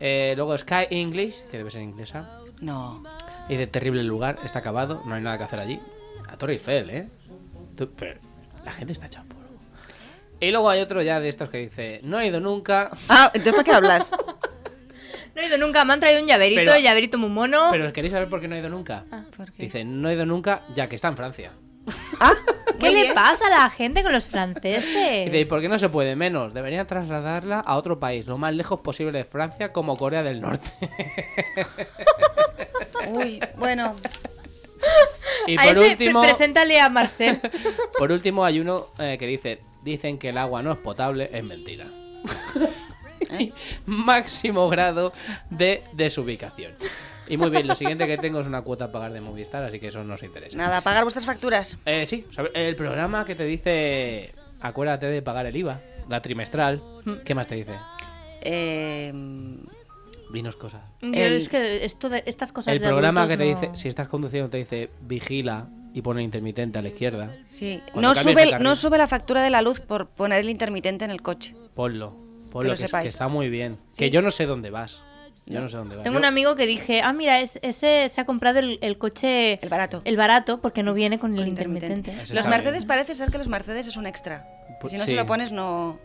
Speaker 1: Eh, luego Sky English, que debe ser inglesa.
Speaker 2: No.
Speaker 1: Y de terrible lugar, está acabado, no hay nada que hacer allí. A Torre Eiffel, ¿eh? Tú- pero la gente está hecha polvo. Y luego hay otro ya de estos que dice, no he ido nunca,
Speaker 2: Ah, entonces ¿para qué hablas?
Speaker 3: No he ido nunca, me han traído un llaverito,
Speaker 1: Pero-
Speaker 3: llaverito muy mono.
Speaker 1: pero ¿queréis saber por qué no he ido nunca?
Speaker 2: ¿Por qué?
Speaker 1: Dice, no he ido nunca, ya que está en Francia.
Speaker 2: Ah,
Speaker 3: ¿Qué
Speaker 2: muy
Speaker 3: le
Speaker 2: bien.
Speaker 3: pasa a la gente con los
Speaker 1: Y de,
Speaker 3: franceses?
Speaker 1: ¿por qué no se puede menos? Deberían trasladarla a otro país, lo más lejos posible de Francia, como Corea del Norte.
Speaker 2: Uy, bueno.
Speaker 1: y
Speaker 3: a
Speaker 1: por
Speaker 3: ese,
Speaker 1: último...
Speaker 3: pre- preséntale a Marcel.
Speaker 1: Por último, hay uno eh, que dice: Dicen que el agua no es potable, es mentira.
Speaker 3: ¿Eh?
Speaker 1: Máximo grado de desubicación. Y muy bien, lo siguiente que tengo es una cuota a pagar de Movistar, así que eso nos interesa.
Speaker 2: Nada, pagar vuestras facturas.
Speaker 1: Eh, sí, sobre- el programa que te dice: Acuérdate de pagar el IVA, la trimestral.
Speaker 3: Mm.
Speaker 1: ¿Qué más te dice?
Speaker 2: Eh,
Speaker 1: Dinos cosas.
Speaker 3: Yo
Speaker 2: El-
Speaker 3: es que esto de- estas cosas
Speaker 1: El
Speaker 3: de
Speaker 1: programa que
Speaker 3: adultos
Speaker 1: te
Speaker 3: no-
Speaker 1: dice: Si estás conduciendo, te dice: Vigila y pone intermitente a la izquierda.
Speaker 2: sí.
Speaker 1: Cuando
Speaker 2: No
Speaker 1: cambies
Speaker 2: sube,
Speaker 1: de
Speaker 2: el-
Speaker 1: carril.
Speaker 2: no sube la factura de la luz por poner el intermitente en el coche.
Speaker 1: Ponlo. Ponlo,
Speaker 2: lo
Speaker 1: que, es-
Speaker 2: sepáis.
Speaker 1: que está muy bien.
Speaker 2: Sí.
Speaker 1: Que yo no sé dónde vas. Yo no sé dónde vas.
Speaker 3: Tengo
Speaker 1: Yo-
Speaker 3: un amigo que dije, ah, mira, es- ese se ha comprado el, el coche...
Speaker 2: El barato.
Speaker 3: El barato, porque no viene con el
Speaker 2: Con
Speaker 3: intermitente.
Speaker 1: Eso
Speaker 2: Los
Speaker 1: está bien.
Speaker 2: Mercedes parece ser que los Mercedes es un extra.
Speaker 1: Pues
Speaker 2: si no
Speaker 1: sí.
Speaker 2: se lo pones no,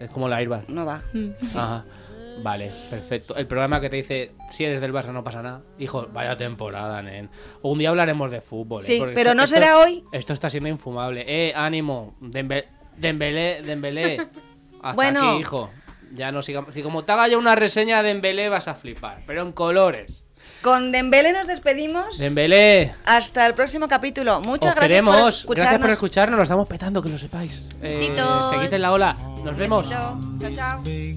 Speaker 1: Es como la airbag.
Speaker 2: no va.
Speaker 3: Mm.
Speaker 1: Ajá. Vale, perfecto. El programa que te dice, si eres del Barça no pasa nada. Hijo, vaya temporada, nen. Un día hablaremos de fútbol. ¿eh?
Speaker 2: Sí,
Speaker 1: Porque
Speaker 2: pero
Speaker 1: esto-
Speaker 2: no
Speaker 1: esto-
Speaker 2: será hoy.
Speaker 1: Esto está siendo infumable. Eh, ánimo. Dembe- Dembélé, Dembélé. Hasta
Speaker 2: Bueno.
Speaker 1: aquí, hijo. Ya no sigamos. Si como te haga yo una reseña de Dembélé vas a flipar, pero en colores.
Speaker 2: Con Dembele nos despedimos.
Speaker 1: Dembélé,
Speaker 2: Hasta el próximo capítulo. Muchas
Speaker 1: os
Speaker 2: gracias
Speaker 1: queremos.
Speaker 2: por
Speaker 1: Gracias por
Speaker 2: escucharnos.
Speaker 1: escucharnos. Lo estamos petando, que lo sepáis. Eh,
Speaker 3: Besitos.
Speaker 1: seguid en la ola. Nos vemos.
Speaker 2: Chao, chao.
Speaker 5: big